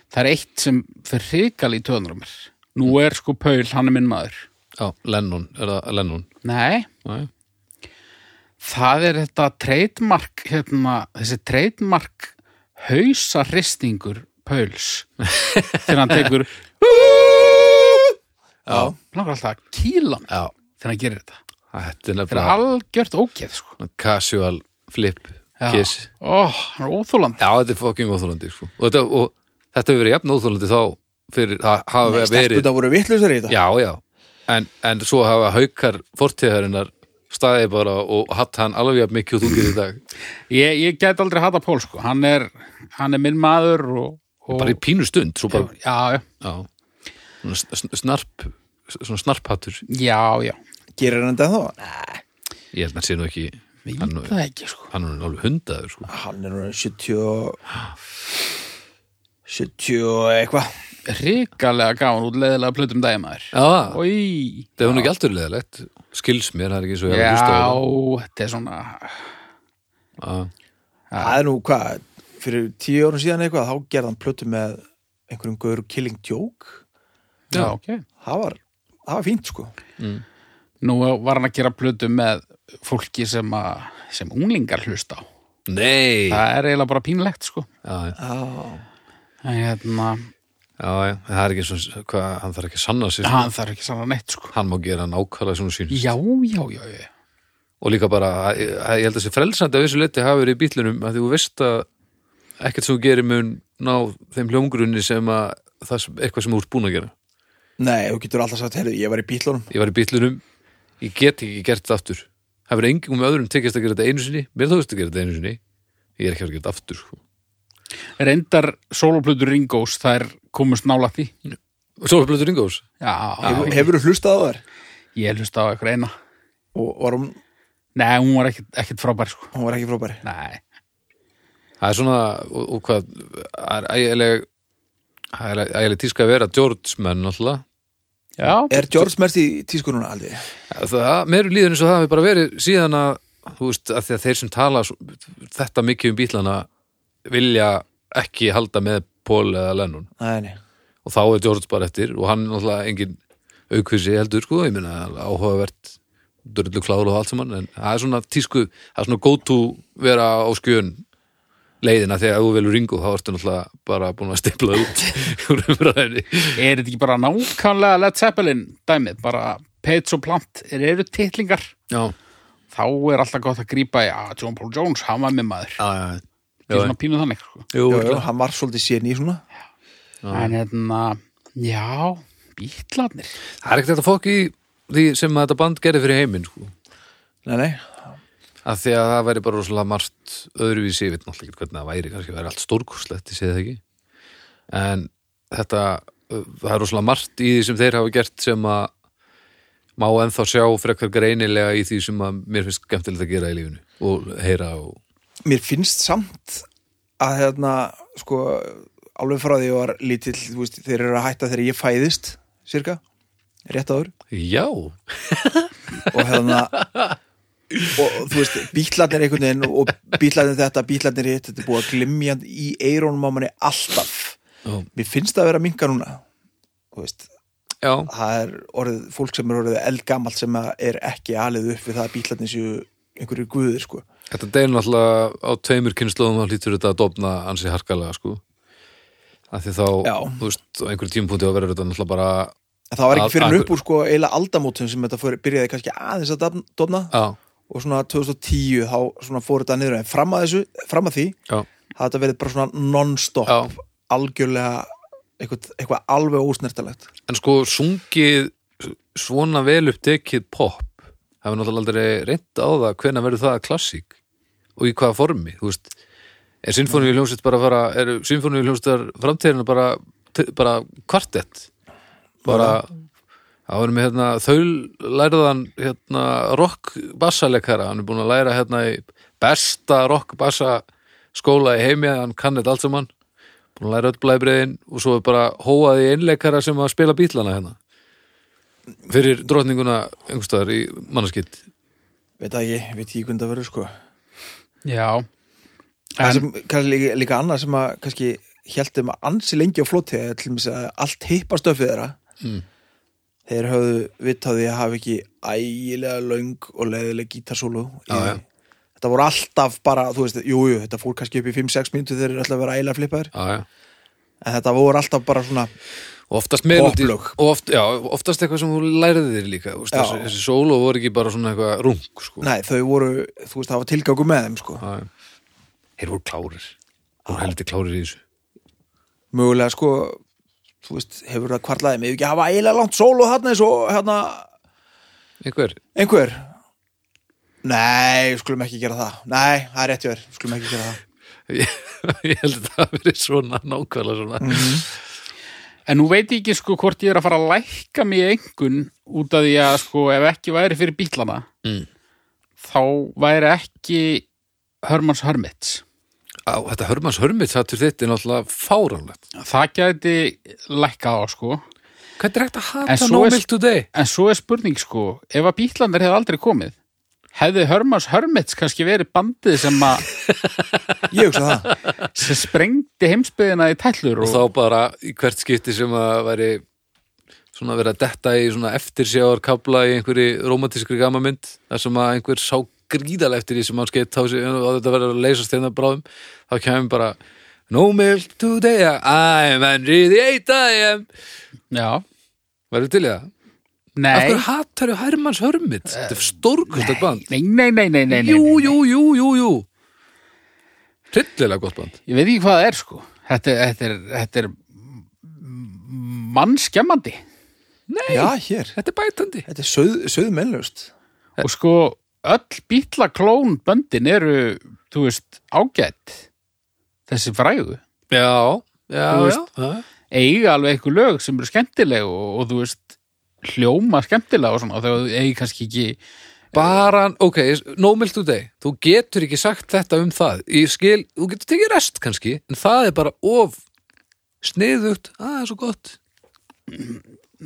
Speaker 2: það er eitt sem fer hrikal í töðunar á mér nú
Speaker 3: Mm.
Speaker 2: er sko Paul, hann er minn maður
Speaker 3: Já, Lennon, er það Lennon?
Speaker 2: nei,
Speaker 3: Nei.
Speaker 2: það er þetta trademark hérna, þessi trademark hausarristingur Pauls þegar hann tekur
Speaker 3: Já,
Speaker 2: langar alltaf að kýla hann
Speaker 3: já,
Speaker 2: þegar hann gerir þetta
Speaker 3: þetta er
Speaker 2: þetta er
Speaker 3: nefnilega
Speaker 2: algjört ógeð sko.
Speaker 3: casual flip
Speaker 2: Já.
Speaker 3: kiss
Speaker 2: ó, hann er óþólandi
Speaker 3: Já, þetta er fucking óþólandi sko. og, þetta, og þetta hefur verið jafn óþólandi þá fyrir að hafa verið
Speaker 1: Stelpurnar voru vitlausar í þetta
Speaker 3: Já, já, en, en svo hafa haukar fortíðarinnar staðið bara og hatt hann alveg jafn mikið og þú gerir í dag
Speaker 2: ég, ég get aldrei hata Pól sko. hann, er, hann er minn maður og, og
Speaker 3: bara í pínu stund, svo bara
Speaker 2: já, já,
Speaker 3: já, Svona sn- snarp svona snarphattur,
Speaker 2: já, já.
Speaker 1: Gerir hann þetta ennþá?
Speaker 3: ég held að hann sé nú ekki
Speaker 2: Við
Speaker 3: hann,
Speaker 2: það ekki, sko.
Speaker 3: hann er alveg hundaður sko.
Speaker 1: Hann er orðinn 70 og- 70 og eitthvað
Speaker 2: Ríkalega gaman út leðilega plötum daginn maður.
Speaker 3: Já, það
Speaker 2: Í,
Speaker 3: er hún ekki alltaf leðilegt skils mér, það er ekki svo ég
Speaker 2: já,
Speaker 3: hafi hlustað á það.
Speaker 2: þetta er svona,
Speaker 3: Já.
Speaker 1: Það er nú hvað, fyrir tíu árum síðan eitthvað þá gerði hann plötu með einhverjum gaur Killing Joke
Speaker 2: já, ok.
Speaker 1: það var, það var fínt sko
Speaker 2: Nú var hann að gera plötum með fólki sem, að, sem unglingar hlusta á.
Speaker 3: Nei já,
Speaker 2: Það er eiginlega bara pínlegt, sko.
Speaker 3: já.
Speaker 2: En Hérna,
Speaker 3: já, já, það er ekki svo hvað, hann þarf ekki að sanna sér
Speaker 2: hann þarf ekki sann að neitt, sko.
Speaker 3: hann má gera nákvæmlega svona sín
Speaker 2: Já, já, já, já.
Speaker 3: og líka bara, að- að- ég held að þessi frelsandi að vissu leti hafi verið í bílunum að því þú veist að ekkert sem þú gerir mun ná þeim hljómgrunni sem að það sem, eitthvað sem þú ert búin að gera
Speaker 1: Nei, þú getur alltaf sagt, heyrðu, ég var í bílunum
Speaker 3: ég var í bílunum, ég get ekki gert þetta aftur það verið engum öðrum tekist að gera þetta einu sinni mér þú veist að gera þetta einu sinni ég er ekki að fara að gera þetta aftur sko.
Speaker 2: Reyndar soloplötur Ringos, þær komust nála því.
Speaker 3: og svo er blötu ringós
Speaker 2: Já,
Speaker 1: Hefur- Hefurðu hlustað á þær?
Speaker 2: ég hlusta á eitthvað eina.
Speaker 1: Og var hún,
Speaker 2: Nei, hún var ekkert, ekkert frábær, sko.
Speaker 1: hún var ekki frábæri
Speaker 2: Nei.
Speaker 3: það er svona, og, og hvað það er ægileg það er ægileg tíska að vera George menn alltaf
Speaker 2: Já,
Speaker 1: Er George Merst í tísku núna aldrei?
Speaker 3: Það, mér er líður eins og það hafi bara verið síðan að, þú veist, að, að þeir sem tala svo- þetta mikið um bílana vilja ekki halda með Paul eða Lennon
Speaker 1: Nei, nei
Speaker 3: og þá er George bara eftir og hann er náttúrulega engin aukvisi heldur, sko, ég meina alveg áhugavert dörrlu kláru og allt saman en það er svona tísku, það er svona go to vera á skjön leiðina þegar þú velur ringu þá ertu náttúrulega bara búin að stipla út úr umræðinni
Speaker 2: er þetta ekki bara nákvæmlega Led Zeppelin dæmið, bara pets og plant, er eru titlingar
Speaker 3: Já,
Speaker 2: þá er alltaf gott að grípa í að John Paul Jones, hann var með maður
Speaker 3: já, já,
Speaker 2: það er svona pínuð þannig sko.
Speaker 3: Jú,
Speaker 1: Jú, jú,
Speaker 3: örugglega.
Speaker 1: hann var svolítið sérni í svona
Speaker 2: en hérna, já bítlarnir,
Speaker 3: það er ekkert hægt að fokk í því sem að þetta band gerði fyrir heiminn sko.
Speaker 1: Nei, nei
Speaker 3: að því að það væri bara rosalega margt öðruvísi, ég veit náttúrulega ekki hvernig það væri kannski væri allt stórkurslegt, ég segi það ekki en þetta uh, það er rosalega margt í því sem þeir hafa gert sem að má ennþá sjá frekar greinilega í því sem að mér finnst skemmtilegt að gera í lífinu og heyra og
Speaker 1: mér finnst samt að hérna, sko alveg frá því ég var lítill, þú veist, þeir eru að hætta þegar ég fæðist, cirka rétt áður
Speaker 3: Já,
Speaker 1: og hérna og þú veist, bílarnir einhvern veginn og bílarnir þetta, bílarnir hitt þetta er búið að glimja í eirónum á manni alltaf
Speaker 3: Já.
Speaker 1: mér finnst það að vera að minga núna þú veist,
Speaker 3: já,
Speaker 1: það er orðið fólk sem er orðið eldgamalt sem að er ekki alið upp við það að bílarnir séu einhverju guðir sko
Speaker 3: þetta deil náttúrulega á tveimur kynnslóðum þá hlýtur þetta að dofna ansi harkalega sko að því þá,
Speaker 1: Já.
Speaker 3: þú veist, á einhverjum tímpúti að vera þetta náttúrulega bara
Speaker 1: en það var ekki
Speaker 3: Að-
Speaker 1: fyrir
Speaker 3: að-
Speaker 1: upp úr sko eila aldamótum sem þetta fyrir, byrjaði kannski aðeins að dafn- dofna
Speaker 3: já,
Speaker 1: og svona 2010 þá svona fór þetta niður en fram að þessu, fram að því
Speaker 3: já,
Speaker 1: það þetta verið bara svona non-stop
Speaker 3: Já.
Speaker 1: algjörlega eitthvað, eitthvað alveg ósnertalegt
Speaker 3: en sko sungið svona vel upptekið pop það hefur náttúrulega aldrei reynt á það hvenær verður það klassík og í hvaða formi, þú veist er sinfóníu hljómsveit bara að fara er sinfóníu hljómsveitar framtíðina bara, bara kvartett bara það var með hérna, þau læraðan hérna, rock bassalekara hann er búin að læra hérna í besta rock bassa skóla í heimi hann kann þetta allt saman búin að læra öll blæbreiðin og svo er bara hóaði einleikara sem að spila bílana hérna fyrir drotninguna einhverstaðar í mannaskitt
Speaker 1: veit það ekki, veit ekki hvernig það verður sko
Speaker 2: Já,
Speaker 1: það
Speaker 2: en,
Speaker 1: sem kannski líka, líka annað sem að kannski heldum að ansi lengi á floti eða til þess að allt hippastöfið þeirra
Speaker 3: Mm.
Speaker 1: þeir höfðu vittaði að hafa ekki ægilega löng og leiðileg gítarsólu
Speaker 3: Já,
Speaker 1: í því.
Speaker 3: já.
Speaker 1: þetta voru alltaf bara, þú veist, jújú jú, þetta fór kannski upp í 5-6 mínútu þegar þeir eru alltaf að vera ægilega flippaðir
Speaker 3: aðja
Speaker 1: en þetta voru alltaf bara svona
Speaker 3: og oftast melodi
Speaker 1: Poplög.
Speaker 3: og oft, já, oftast eitthvað sem þú læriði þér líka þú veist,
Speaker 1: Já.
Speaker 3: þessi, þessi sólu voru ekki bara svona eitthvað rung sko.
Speaker 1: nei, þau voru, þú veist, það var tilgangu með þeim sko.
Speaker 3: Já, já. Þeir voru klárir Þeir voru heldur klárir í þessu
Speaker 1: mögulega sko þú veist, hefur það kvarlaði mig ekki að hafa eiginlega langt sól og þarna eins og hérna
Speaker 3: Einhver?
Speaker 1: einhver Nei, við skulum ekki gera það Nei, það er rétt hjá þér, við skulum ekki gera það
Speaker 3: Ég ég held að það hafi verið svona nákvæmlega svona
Speaker 2: en nú veit ég ekki sko hvort ég er að fara að lækka mig í engun út af því að sko ef ekki væri fyrir bílana
Speaker 3: Mm.
Speaker 2: þá væri ekki Hermans Hermits
Speaker 3: Á, Þetta Hörmanns Hörmits hattur þitt er náttúrulega fáránlegt
Speaker 2: Það gæti lækkað á sko
Speaker 3: Hvernig er hægt að
Speaker 2: En
Speaker 3: hata
Speaker 2: svo
Speaker 3: No
Speaker 2: er-
Speaker 3: Milk Today?
Speaker 2: en svo er spurning sko ef að bílandir hefði aldrei komið hefði Hermans Hermits kannski verið bandið sem að
Speaker 1: Ég hugsa það
Speaker 2: sem sprengdi heimsbyðina í tællur
Speaker 3: Og
Speaker 2: og,
Speaker 3: þá bara í hvert skipti sem að væri svona verið að detta í svona eftirsjáar kabla í einhverju romantískri gamamynd þar sem að einhver sá gríðalega eftir því sem hann skeitt á sig og þetta verður að leysast þeirna bráðum þá kemur bara No Milk Today I'm Henry the 8 I am
Speaker 2: Já,
Speaker 3: Verður til í það? Af
Speaker 2: nei Eh,
Speaker 3: hverju hattar þau Hermanns Hörmits? Þetta er stórkustar band.
Speaker 2: Nei, nei, nei, nei, nei, nei,
Speaker 3: Jú,
Speaker 2: nei.
Speaker 3: jú, jú, jú, jú. Hryllilega gott band.
Speaker 2: Ég veit ekki hvað það er sko Þetta, þetta er, þetta er mannskemmandi
Speaker 3: Nei,
Speaker 1: Já, hér,
Speaker 3: þetta er bætandi.
Speaker 1: þetta er söð, söðmennlust
Speaker 2: og sko öll bítla klón böndin eru, þú veist, ágætt þessi frægu
Speaker 3: Já, já,
Speaker 2: Þú
Speaker 3: já.
Speaker 2: veist. eiga alveg eitthvað lög sem eru skemmtileg og, og þú veist, hljóma skemmtilega og svona, þegar þú eigi kannski ekki
Speaker 3: Bara, ok, no milk today. Þú getur ekki sagt þetta um það. Ég skil, þú getur tekið rest kannski, en það er bara of sniðugt. að það er svo gott.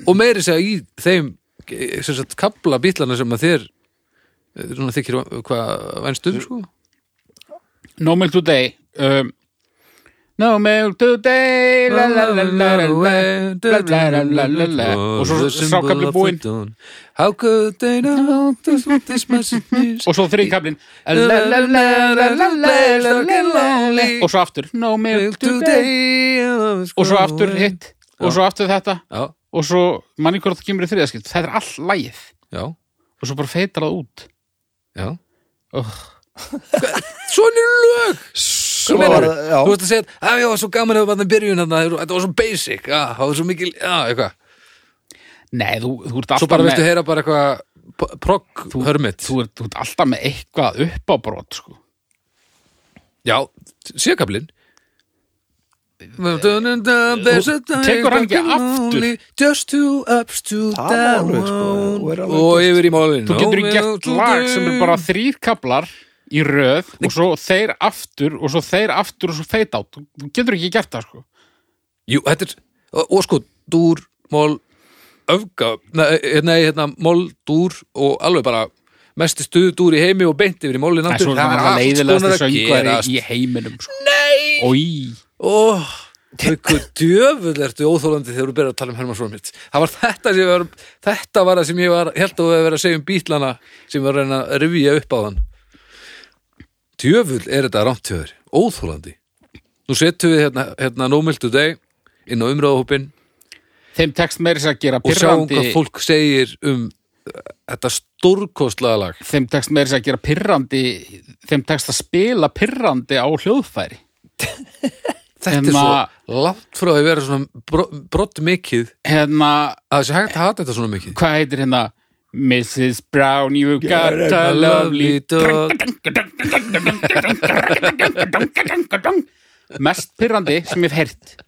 Speaker 3: Og meiri segja í þeim eh, sem sagt kabla bítlana sem að þér eh, svona þykir va- hvað vænstum,
Speaker 2: Mm.
Speaker 3: sko.
Speaker 2: No Milk Today um, No Milk Today la, la, la, la, la, la. Og svo strákarnir búinn.
Speaker 3: How could they know this, this message means
Speaker 2: og svo þriðkablin og svo aftur No Milk Today og svo aftur hitt og svo aftur þetta
Speaker 3: Já,
Speaker 2: og svo manni hvort það kemur í þriðaskipt þetta er all lægið
Speaker 3: já,
Speaker 2: og svo bara feitar það út
Speaker 3: já
Speaker 2: oh.
Speaker 3: Svona eru lög
Speaker 1: Svo
Speaker 3: Hvað
Speaker 1: var
Speaker 3: meinarðu?
Speaker 1: það, já
Speaker 3: Þú veist að segja, að já, svo gaman hefur bara byrjun þarna Þetta var svo basic, já, það var svo mikil Já, eitthvað,
Speaker 2: nei, þú, þú ert
Speaker 3: svo
Speaker 2: alltaf
Speaker 3: bara
Speaker 2: með
Speaker 3: viltu heyra bara eitthvað p- Prog hörmit
Speaker 2: þú, ert, þú ert alltaf með eitthvað upp á brot sko.
Speaker 3: Já, sjökablin Tekur
Speaker 2: tekur hann ekki aftur?
Speaker 3: Just two ups, two
Speaker 1: Það er alveg, sko,
Speaker 3: down
Speaker 1: og er alveg
Speaker 3: Og yfir í málin
Speaker 2: þú getur ekki gert lag sem er bara þrýr kablar í röð og svo þeir aftur og svo þeir aftur og svo feit átt þú getur ekki gert það sko
Speaker 3: Jú, þetta er, og, og sko, dúr, mól, öfga, nei, nei hérna, mól, dúr og alveg bara mestu stuðu dúr í heimi og beint yfir í mólin
Speaker 2: Nei,
Speaker 3: aftur.
Speaker 2: svo er það
Speaker 3: er
Speaker 2: náttúrulega
Speaker 3: allt
Speaker 2: leiðilegasti
Speaker 3: konar að
Speaker 2: söngvari
Speaker 3: gerast.
Speaker 2: í heiminum sko.
Speaker 3: Nei!
Speaker 2: Ói,
Speaker 3: Ó, hvað djöfull ertu óþólandi þegar þú byrjar að tala um Hermannsson mitt. Það var þetta sem ég var, þetta var það sem ég var, held að við verið að segja um bítlana sem var að reyna að rifja upp á þann. Djöfull er þetta rámtjöður, óþólandi. Nú setjum við hérna, hérna nómildu deg inn á umröðahópin
Speaker 2: þeim tekst meira þess að gera
Speaker 3: og sjáum hvað
Speaker 2: pirrandi
Speaker 3: fólk segir um þetta stórkostlega lag
Speaker 2: þeim tekst meira þess að gera pirrandi þeim tekst að spila pirrandi á hljóðfæri
Speaker 3: þetta er
Speaker 2: Hérna-
Speaker 3: svo langt frá að vera svona bro, brott mikið
Speaker 2: hérna,
Speaker 3: að þessi hægt að hata þetta svona mikið
Speaker 2: hvað heitir hérna Mrs. Brown, you got
Speaker 1: Got
Speaker 2: a
Speaker 1: a
Speaker 2: lovely
Speaker 3: dog.
Speaker 2: mest pyrrandi sem ég hef heyrt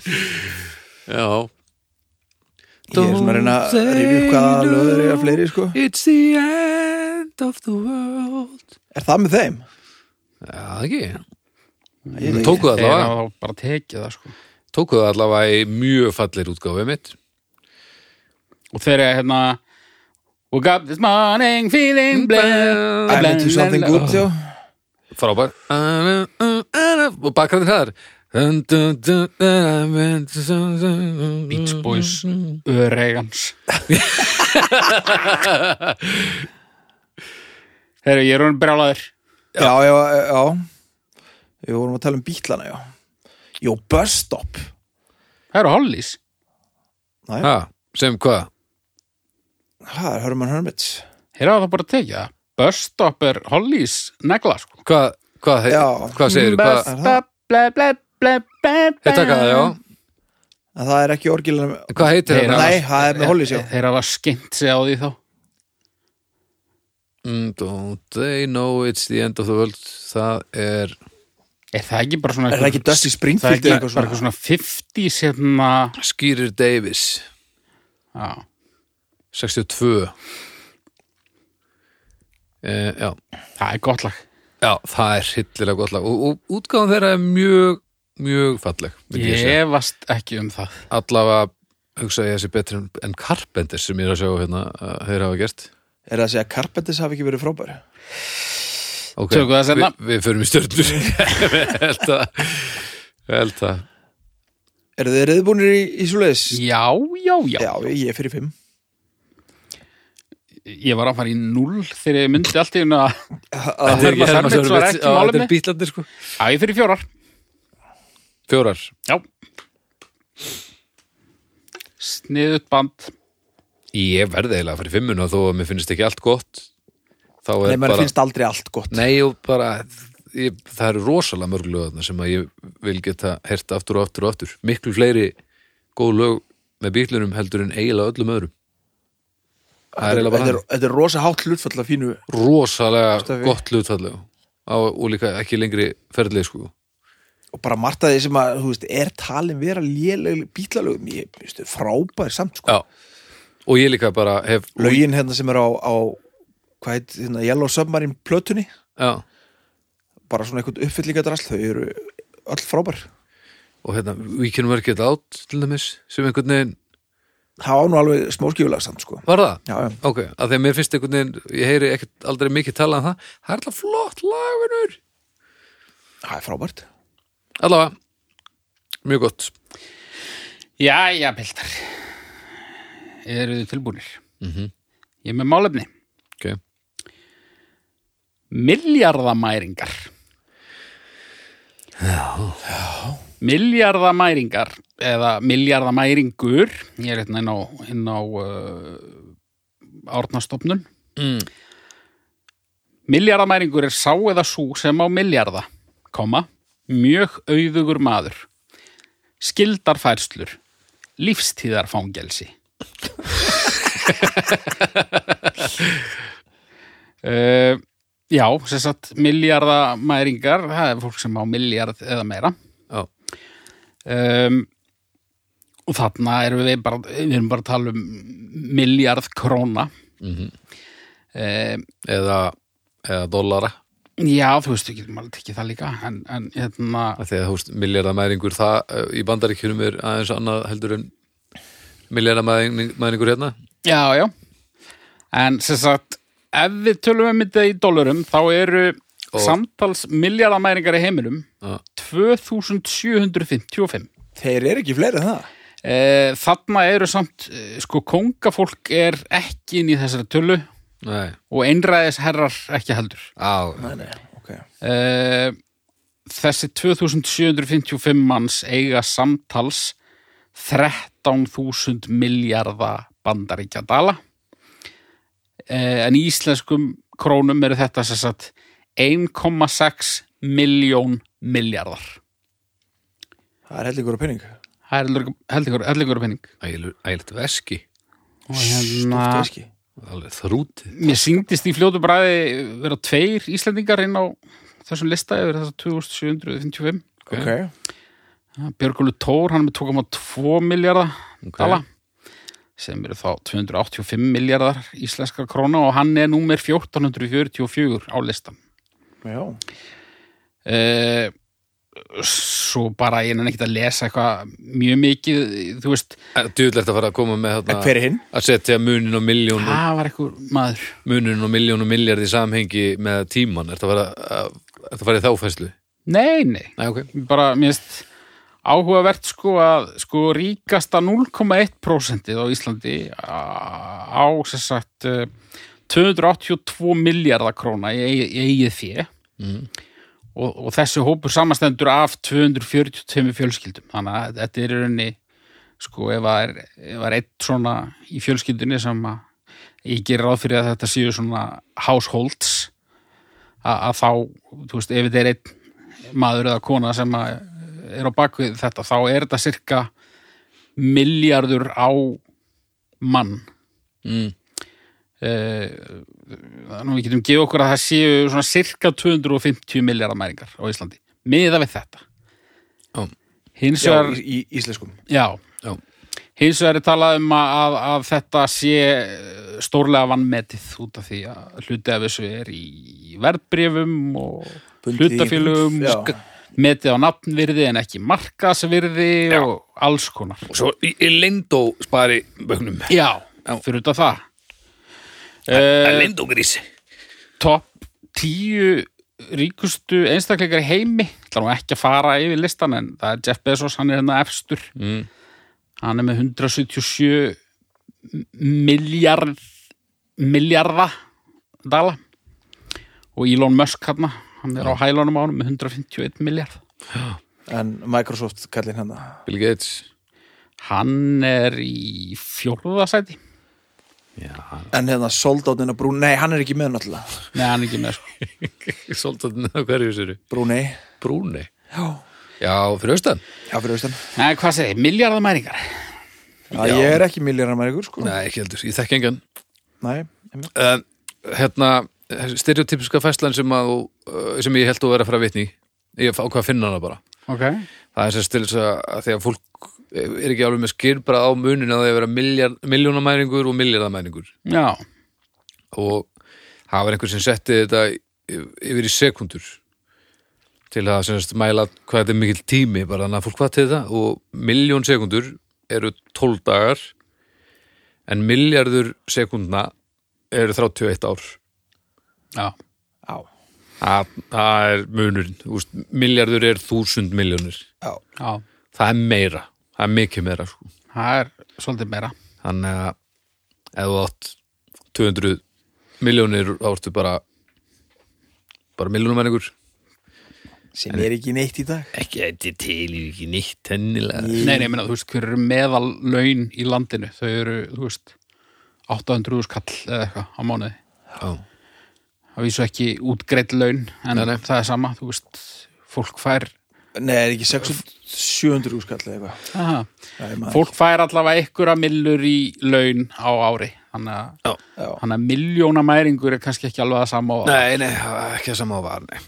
Speaker 3: já
Speaker 1: Ég er svona að reyna að rifja upp hvaða löður eiga fleiri sko.
Speaker 3: It's the end of the world
Speaker 1: Er það með þeim?
Speaker 3: Já, ekki
Speaker 1: Ég veit
Speaker 3: Tóku það
Speaker 2: þegar
Speaker 3: allavega
Speaker 2: það bara tekið það sko
Speaker 3: Tóku það allavega í mjög fallir útgáfið mitt
Speaker 2: og þegar ég hérna woke up this morning feeling blue
Speaker 1: I'm into something good, já.
Speaker 3: Frábær Og bakgræðin hæðar Beach
Speaker 2: Beach Boys öreigans herru ég er hún brjálaður
Speaker 1: Já, já, já. Við vorum að tala um bítlana, já. Jó, Bus Stop.
Speaker 2: herru Hollys
Speaker 1: Næ,
Speaker 3: Ha, sem hvað?
Speaker 1: það er Herman Hermits.
Speaker 2: Þeir hafa það bara tekið það. Börstopp er hollís negla, sko.
Speaker 3: Hvað, hvað, hei-
Speaker 1: Já.
Speaker 3: hvað segir
Speaker 2: Mm,
Speaker 3: hvað?
Speaker 2: Börstopp, ble, ble, ble, ble, ble.
Speaker 3: Ég taka það, já
Speaker 1: En það er ekki orgilega með...
Speaker 3: Hvað heitir
Speaker 2: Nei,
Speaker 3: þetta?
Speaker 1: Nei, það er með Hollis, já.
Speaker 2: Þeir hafa skemmt sig á því þá.
Speaker 3: Mm, Don't they know it's the end of the world Það er
Speaker 2: Er það ekki bara svona...
Speaker 1: Er það ekki Dusty
Speaker 2: Það er
Speaker 1: Springfield
Speaker 2: ekki
Speaker 1: eða
Speaker 2: bara
Speaker 1: eitthvað svona?
Speaker 2: eitthvað svona 50 sérna...
Speaker 3: Skýrir Davis
Speaker 2: Já.
Speaker 3: 62 eh, Já
Speaker 2: Það er gott lag.
Speaker 3: Já, það er hillilega gott lag og, og útgáðan þeirra er mjög, mjög falleg myndi ég segja.
Speaker 2: Ég vast ekki um það.
Speaker 3: Allavega hugsa ég að þessi betri en- en Carpenter sem ég er að sjá hérna að þeir hafa gert
Speaker 1: Er það að segja að Carpenters hafi ekki verið frábæri?
Speaker 3: Ok,
Speaker 2: Tökum það seinna.
Speaker 3: vi, Við förum í stjörnur Ég held að ég held að
Speaker 1: Eru þið reyðbúnir í, í svo leiðis?
Speaker 2: Já, já, já.
Speaker 1: Já, ég ég er fyrir fimm.
Speaker 2: Ég var að fara í null þegar ég myndi allt í hún að...
Speaker 1: Það
Speaker 2: Hermann Hermann Hermann var ekki
Speaker 3: Já,
Speaker 2: málefni.
Speaker 3: Þetta er bítlandir sko
Speaker 2: Já, ég fyrir fjórar.
Speaker 3: Fjórar
Speaker 2: Já. Sniðut band.
Speaker 3: Ég verði eiginlega að fara í fimmuna þó að mér finnst ekki allt gott Þá er
Speaker 1: Nei, maður
Speaker 3: bara
Speaker 1: finnst aldrei allt gott. sko.
Speaker 3: Nei og bara ég, það eru rosalega mörg lögarnar sem að ég vil geta hert aftur og aftur og aftur miklu fleiri góð lög með bílunum heldur en eiginlega öllum öðrum Það er eiginlega
Speaker 1: Þetta
Speaker 3: bara
Speaker 1: er, þetta er rosa hátt hlutfall af fínu.
Speaker 3: rosalega
Speaker 1: Stöfi.
Speaker 3: gott hlutfallega á, og líka ekki lengri ferðlega sko
Speaker 1: Og bara margt að því sem að, þú veist, er talin vera léleg bítlalögum. Ég þú veist, frábæri samt, sko.
Speaker 3: Já og ég líka bara hef
Speaker 1: Lögin hérna sem er á, á hvað heit, hérna, Yellow Submarine plötunni.
Speaker 3: já,
Speaker 1: Bara svona eitthvað uppfyllingadrasl. Þau eru öll frábær.
Speaker 3: og hérna We Can Work It Out til dæmis sem einhvern veginn
Speaker 1: Það á nú alveg smóskífulega samt, sko.
Speaker 3: var það
Speaker 1: Já, já.
Speaker 3: Ok, að því að mér finnst einhvern veginn ég heyri ekkert aldrei mikið talað um það það er alltaf flott lagunur
Speaker 1: Það er frábært.
Speaker 3: allavega, mjög gott
Speaker 2: Jæja, Piltar Eru þið tilbúinir?
Speaker 3: Mhm,
Speaker 2: Ég er með málefni
Speaker 3: okay.
Speaker 2: Miljarðamæringar Já Miljarðamæringar eða miljarðamæringur ég er hérna inn á, inn á uh, árnastofnun
Speaker 3: Mm.
Speaker 2: Miljarðamæringur er sá eða sú sem á miljarða, koma, mjög auðugur maður skildarfærslur lífstíðarfangelsi uh, Já, sem sagt miljardamæringar, það er fólk sem á miljard eða meira
Speaker 3: Já.
Speaker 2: um, og þarna erum við bara við erum bara að tala um miljard króna
Speaker 3: eða eða dollara
Speaker 2: Já, þú veist, við getum alveg tekið það líka en, en hérna,
Speaker 3: Af því að þú veist, miljardamæringur það eh, í bandaríkjunum er aðeins annað heldur en miljardamæringur hérna
Speaker 2: já, já En sem sagt, ef við tölum um þetta í dólarum, þá eru samtals miljardamæringar í heiminum
Speaker 3: Já.
Speaker 2: 2755
Speaker 1: Þeir eru ekki fleiri en það.
Speaker 2: e, Þarna eru samt, eh, sko, kongafólk er ekki inn í þessari tölu
Speaker 3: Nei,
Speaker 2: og einræðisherrar ekki heldur
Speaker 3: á,
Speaker 1: nei. Ok.
Speaker 2: Eh, þessi 2755 manns eiga samtals 13.000 miljardar bandaríkja dala Eh, en í íslenskum krónum eru þetta sem sagt 1,6 miljón miljardar
Speaker 1: Það er hellingur á penning.
Speaker 2: það er heldur- heldur heldur ykkur penning
Speaker 3: ægilegur- ægilegt veski
Speaker 2: og
Speaker 1: Stort
Speaker 2: hérna
Speaker 1: veski.
Speaker 3: alveg þrútið
Speaker 2: mér syngdist í fljótu bræði vera tveir íslendingar inn á þessum lista yfir þessa 2755
Speaker 1: Ok.
Speaker 2: Björgulu Tór, hann er með 2,2 miljardar
Speaker 3: Ok.
Speaker 2: dala sem eru þá 285 miljardar íslenskar króna og hann er númer 1444 á listan
Speaker 1: Já.
Speaker 2: eh, svo bara ég nenni ekki að lesa eitthvað mjög mikið þú veist,
Speaker 3: Djúðlegt að fara að koma með
Speaker 1: En
Speaker 3: þarna
Speaker 1: hver er hinn?
Speaker 3: að setja munin og miljón og-
Speaker 2: það var eitthvað maður
Speaker 3: munin og miljón og miljard í samhengi með tíman, ertu að fara að- ertu að fara í þáfæslu?
Speaker 2: nei, nei,
Speaker 3: Nei, ok
Speaker 2: bara minnst áhugavert sko að sko ríkasta 0,1% á Íslandi á sem sagt eh, 282 miljardar króna í eigi- í eigið fé
Speaker 3: Mm.
Speaker 2: og, og þessi hópur samastendur af 242 fjölskyldum þannig að þetta er í rauninni sko ef það er, ef það er eitt svona í fjölskyldunni sem að ég gerir ráð fyrir að þetta séu svona households að, að þá, þú veist, ef þetta er einn maður eða kona sem að er á bakvið þetta, þá er þetta cirka miljardur á mann
Speaker 3: Mm.
Speaker 2: eh, þannig að við getum gefið okkur að það séu svona cirka 250 miljardar mæringar á Íslandi, miða við þetta
Speaker 3: Já.
Speaker 2: hins
Speaker 1: Já,
Speaker 2: vegar
Speaker 1: í, í íslenskum.
Speaker 2: Já.
Speaker 3: Já.
Speaker 2: Hins vegar er talað um að, að, að þetta sé eh, stórlega vannmetið út af því að hluti af þessu er í verðbrifum og
Speaker 1: Bundið í-
Speaker 2: hlutafélugum
Speaker 1: Já.
Speaker 2: sk- metið á nafnvirði en ekki markasvirði og alls konar.
Speaker 3: Og svo í Lindó spari bögnum
Speaker 2: Já,
Speaker 3: Já.
Speaker 2: fyrir út af það. Uh,
Speaker 3: Lindó grísi
Speaker 2: topp tíu ríkustu einstakleikar í heimi ætla nú ekki að fara yfir listan en það er Jeff Bezos, hann er hérna efstur
Speaker 3: Mm.
Speaker 2: hann er með 177 miljard miljarda dala og Elon Musk hann, hann er á hælunum á hann með 151 miljard
Speaker 1: En Microsoft kallinn hérna. hann það.
Speaker 3: Bill Gates
Speaker 2: hann er í fjórðasæti
Speaker 3: Já,
Speaker 1: En hérna soldátnina Brún, nei hann er ekki með náttúrulega
Speaker 2: nei, hann er ekki með sko
Speaker 3: svolítið að hverju sér
Speaker 1: Brúnei
Speaker 3: Brúni
Speaker 1: Já,
Speaker 3: Já, fyrir austan
Speaker 1: já fyrir austan
Speaker 2: nei, hvað segir, miljardamæringar
Speaker 1: Já, ég er ekki milljarnamæringur sko
Speaker 3: Nei, ekki heldur, ég þekki engan
Speaker 1: Nei, einmitt.
Speaker 3: uh, Hérna, stereotypiska fæslan sem, að, þú, uh, sem ég held að vera að fara að vitni í. Ég ákvað að finna hana bara
Speaker 2: ok,
Speaker 3: Það er sem til þess að, að því að fólk eh, er ekki alveg með skýr bara á munin að það er að vera miljard, miljónamæringur og miljardamæringur
Speaker 2: já
Speaker 3: og það var einhver sem setti þetta yfir í sekundur til að semst, mæla hvað þetta er mikill tími bara þannig að fólk hvað til þetta og miljón sekundur eru 12 dagar en miljardur sekundna eru 31 ár
Speaker 2: já,
Speaker 1: Já,
Speaker 3: það, það er munurinn Þú veist, miljardur er þúsund miljónir
Speaker 1: já
Speaker 2: já
Speaker 3: það er meira, það er mikið meira sko.
Speaker 2: það er svolítið meira
Speaker 3: þannig að ef þú átt 200 miljónir þá ertu bara bara miljónumæringur
Speaker 1: Sem er ekki neitt í dag
Speaker 3: ekki, þetta telir ekki neitt hennilega
Speaker 2: Nei, nei, ég meina, þú veist, hver eru meðal laun í landinu? Þau eru, þú veist, 800 skall eða eitthvað á mánuði.
Speaker 3: Já.
Speaker 2: Það vísu ekki útgreitt laun, en það er sama, þú veist, fólk fær,
Speaker 1: Nei, er ekki 600, 700 úrskall eða eitthvað
Speaker 2: aha,
Speaker 1: Nei, maður-
Speaker 2: fólk fær allavega einhverja millur í laun á ári. Þannig
Speaker 3: Já.
Speaker 2: að,
Speaker 1: Já.
Speaker 2: þannig að miljónamæringur er kannski ekki alveg að sama á
Speaker 3: Nei, nei, það var ekki að sama á var, nei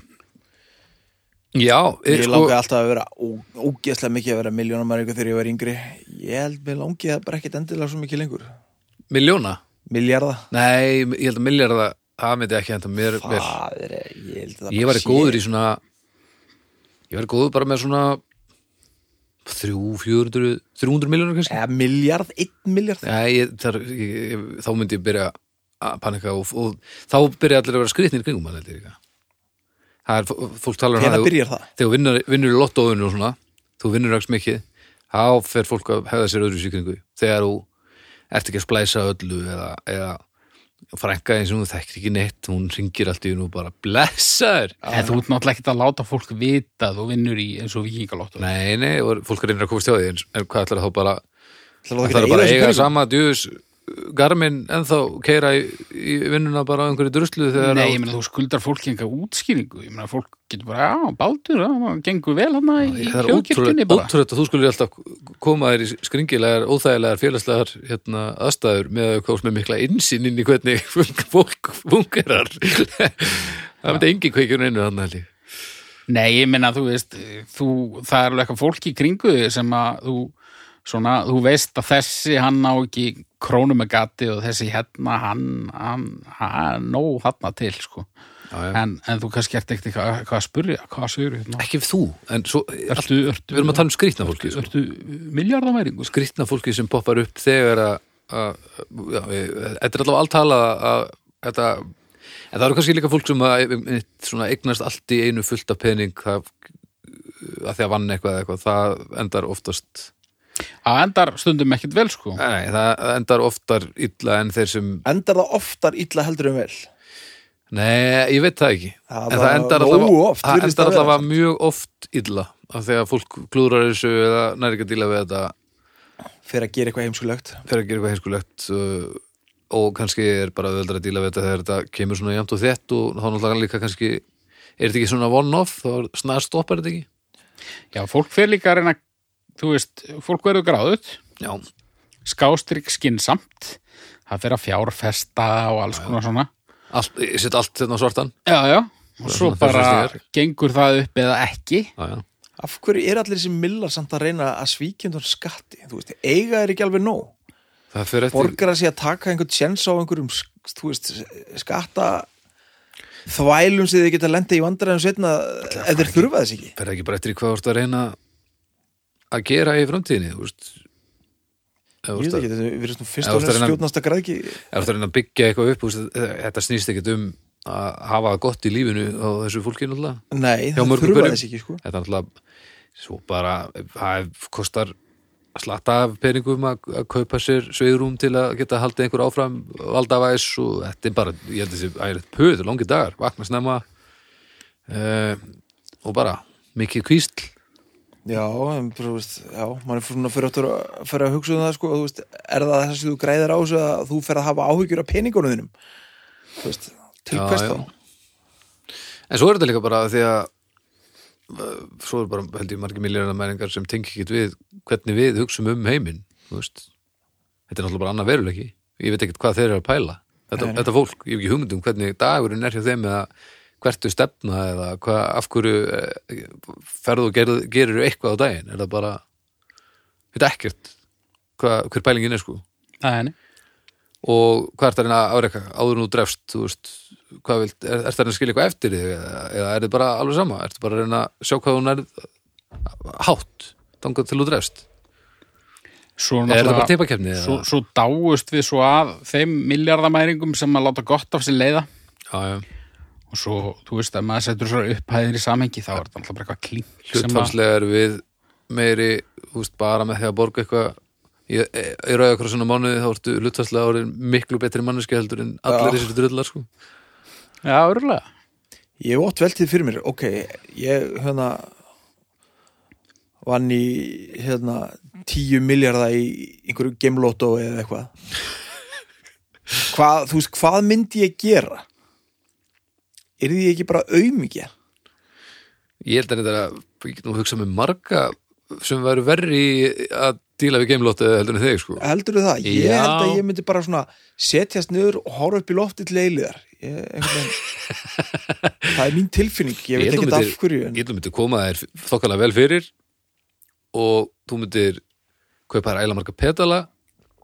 Speaker 3: Já, er,
Speaker 1: Ég
Speaker 3: sko,
Speaker 1: langaði alltaf að vera ó- ógeðslega mikið að vera milljónamæringur þegar ég var yngri Ég held mér langið að bara ekkit endilega svo mikið lengur
Speaker 3: miljóna
Speaker 1: Milljarða
Speaker 3: Nei, ég held að miljarda það myndi ekki henda mér vel
Speaker 1: Það er, ég held að það
Speaker 3: ég
Speaker 1: bara
Speaker 3: væri
Speaker 1: sé-
Speaker 3: góður í svona ég væri góður bara með svona 300, 400 300 miljonar kannski
Speaker 1: Eða miljard, Eh, einn miljard
Speaker 3: Já, ég, þar, ég, ég, þá myndi ég byrja að panika og, og þá byrja allir að vera skriðnir í kringum hann, heldur ég líka. það er, fó- fólk talar um
Speaker 1: Hvenær
Speaker 3: það,
Speaker 1: byrjar það?
Speaker 3: þegar þú vinnur, vinnur í lottóðunni og svona, þú vinnur rækst mikið þá fer fólk að hefða sér öðru í kringu þegar þú ert ekki að splæsa öllu eða, eða frænka eins og hún þekkir ekki neitt hún ringir allt í hún og bara blessaður
Speaker 2: En þú ert náttúrulega ekkert að láta fólk vita að þú vinnur í eins og vikingalóttu.
Speaker 3: nei, nei, og fólk reynir að komast hjá því en, en hvað ætlar þá bara
Speaker 1: Það
Speaker 3: Það er bara að eiga sama djús Garmin ennþá keira í, í vinnuna bara á einhverju druslu þegar á-
Speaker 2: Nei, ég meina þú skuldar fólk enga útskýringu. Ég meina fólk getur bara, já, bátur, já, það gengur vel hann í
Speaker 3: það er
Speaker 2: hljóðkirkjunni
Speaker 3: ótrúlegt
Speaker 2: bara.
Speaker 3: ótrúlegt að þú skulir alltaf koma þér í skringilegar, óþægilegar, félagslegar hérna, aðstæður með að kóðs með mikla innsýn inn í hvernig fólk fungerar það myndi engin kveikjun einu þannig held ég.
Speaker 2: Nei, ég meina þú veist, þú, það er alveg eitthvað fólk í kringu þig sem að þú, svona, þú veist að þessi hann á ekki krónum með gati og þessi hérna hann, hann, hann, nóg hann til, sko.
Speaker 3: Já, já.
Speaker 2: En, en þú kannski ert ekkert eitthvað eitthvað að spurja, hvað segir hérna?
Speaker 3: ekki þú, en svo allt,
Speaker 2: Ertu,
Speaker 3: við
Speaker 2: ertu,
Speaker 3: erum að tala um skrýtna fólki sko.
Speaker 2: ertu miljardamæringu?
Speaker 3: skrýtna fólki sem poppar upp þegar að að- já, ég- þetta er allavega allt talað að- að þetta en það eru kannski líka fólk sem að, einmitt svona, eignast allt í einu fullt af pening það, að því að vann eitthvað, eða eitthvað það endar oftast
Speaker 2: Það endar stundum ekkert vel, sko.
Speaker 3: nei, það endar oftar illa en þeir sem
Speaker 1: Endar það oftar illa heldur en vel
Speaker 3: nei, ég veit það ekki
Speaker 1: Það
Speaker 3: en
Speaker 1: var
Speaker 3: það endar
Speaker 1: nógu
Speaker 3: allavega,
Speaker 1: oft,
Speaker 3: það
Speaker 1: virðist
Speaker 3: endar
Speaker 1: það vera.
Speaker 3: allavega mjög oft illa af því að fólk klúrar þessu eða næri ekki að díla við þetta
Speaker 1: Fyrir að gera eitthvað heimskulegt
Speaker 3: fer að gera eitthvað heimskulegt uh, og kannski er bara auðvöldar að díla við þetta þegar þetta kemur svona jæmt og þett og þá náttúrulega líka kannski er þetta ekki svona one-off, þá snar stoppar þetta ekki
Speaker 2: Já, fólk fer líka að reyna, þú veist, fólk verður gráðut,
Speaker 3: Já,
Speaker 2: skástrík skinsamt, það fer að fjárfesta og alls konar svona.
Speaker 3: allt, ég set allt þetta á svartan
Speaker 2: Já, já, og svo
Speaker 3: svona
Speaker 2: bara
Speaker 3: fjárfestingar.
Speaker 2: gengur það upp eða ekki.
Speaker 3: Já, já,
Speaker 1: Af hverju er allir þessi millar samt að reyna að svíkja undan skatti? Þú veist, eiga er ekki alveg nóg.
Speaker 3: það fer eftir
Speaker 1: Borgar að sé að taka einhvern tjens á einhverjum, sk- þú veist, skatta þvælum sem þið geta lenda í vandræðum setna ef þeir þurfa þess ekki.
Speaker 3: fer það ekki bara eftir í hvað þú ert að reyna að gera í framtíðinni þú veist Ef þú
Speaker 1: Ég veit
Speaker 3: ert að-
Speaker 1: ekki, þetta við erum fyrst
Speaker 3: Ef þú
Speaker 1: og
Speaker 3: ert að
Speaker 1: fremst
Speaker 3: reyna-
Speaker 1: skjótnasta græðki.
Speaker 3: ef þú ert að reyna að byggja eitthvað upp þú veist, þetta snýst ekkert um að hafa það gott í lífinu á þessu fólki náttúrulega
Speaker 1: Nei,
Speaker 3: Hjá
Speaker 1: þeir
Speaker 3: mörgum
Speaker 1: þurfa
Speaker 3: hverjum.
Speaker 1: þess ekki, sko.
Speaker 3: þetta er náttúrulega svo bara, það kostar að slatta af peningum að, að kaupa sér sveigrum til að geta haldið einhver áfram valdavæs og þetta er bara, ég held þessi ægilegt pöð, langi dagar, vakna snemma uh, og bara mikið kvísl
Speaker 1: Já, en bara, þú veist, já, mann er svona fyrir aftur að fyrir að hugsa um það, sko, og þú veist, er það þess að þú græðir á þessu að þú fer að hafa áhyggjur af peningunum þínum? Þú veist, til
Speaker 3: Já,
Speaker 1: hvers
Speaker 3: já.
Speaker 1: þá?
Speaker 3: en svo er þetta líka bara því að uh, svo er bara, held ég, margir miljónar mæringar sem tengi ekkit við hvernig við hugsum um heiminn, þú veist þetta er náttúrulega bara annað veruleiki ég veit ekkit hvað þeir eru að pæla þetta, þetta fólk, ég hef ekki hugmynd um hvernig dagurinn er hjá þeim eða hvert þau stefna eða hvað, af hverju eh, ferðu og gerðu, gerir eitthvað á daginn er það bara, þetta er ekkert hvað, hver pælingin er sko
Speaker 2: Nei, nei.
Speaker 3: og hvað er það reyna að afreka áður nú drefst, þú veist hvað vilt, er, er það reyna að skilja eitthvað eftir þig eða, eða er þið bara alveg sama, er þið bara að reyna að sjá hvað hún er hátt, þangað til þú drefst er
Speaker 2: Svo
Speaker 3: það bara
Speaker 2: náttúrulega-
Speaker 3: teipakefni
Speaker 2: Svo, svo dáust við svo að þeim miljardamæringum sem að láta gott af sér leiða
Speaker 3: já, já,
Speaker 2: og svo, þú veist, ef maður setur svo upphæðir í samhengi þá er þetta alltaf bara eitthvað klink sem að,
Speaker 3: hlutfalslega er við meiri, þú veist, bara með því að borga eitthvað í, í rauða krossin á mánuði þá ertu hlutfalslega orðin miklu betri manneski heldur en allir þessir drullar sko.
Speaker 2: já, örgulega
Speaker 1: Ég hef ótt veltið fyrir mér, ok, ég hérna vann í hérna tíu miljarda í einhverju gemlótó eða eitthvað. Hvað, þú veist, hvað myndi ég gera? Er því ekki bara auðmikið?
Speaker 3: ég held að þetta er að ég get nú hugsa með marga sem væru verri í að díla við geimlóttu heldur en þig sko.
Speaker 1: Heldurðu það? Ég
Speaker 3: Já.
Speaker 1: held að ég myndi bara svona setjast niður og horfa upp í lofti til eiliðar. Ég, einhvern veginn, það er mín tilfinning, ég veit
Speaker 3: held þú
Speaker 1: ekki af
Speaker 3: myndir-
Speaker 1: hverju. En,
Speaker 3: Ég held að myndir koma þér þokkalega vel fyrir og þú myndir kaupa þér ægilega marga pedala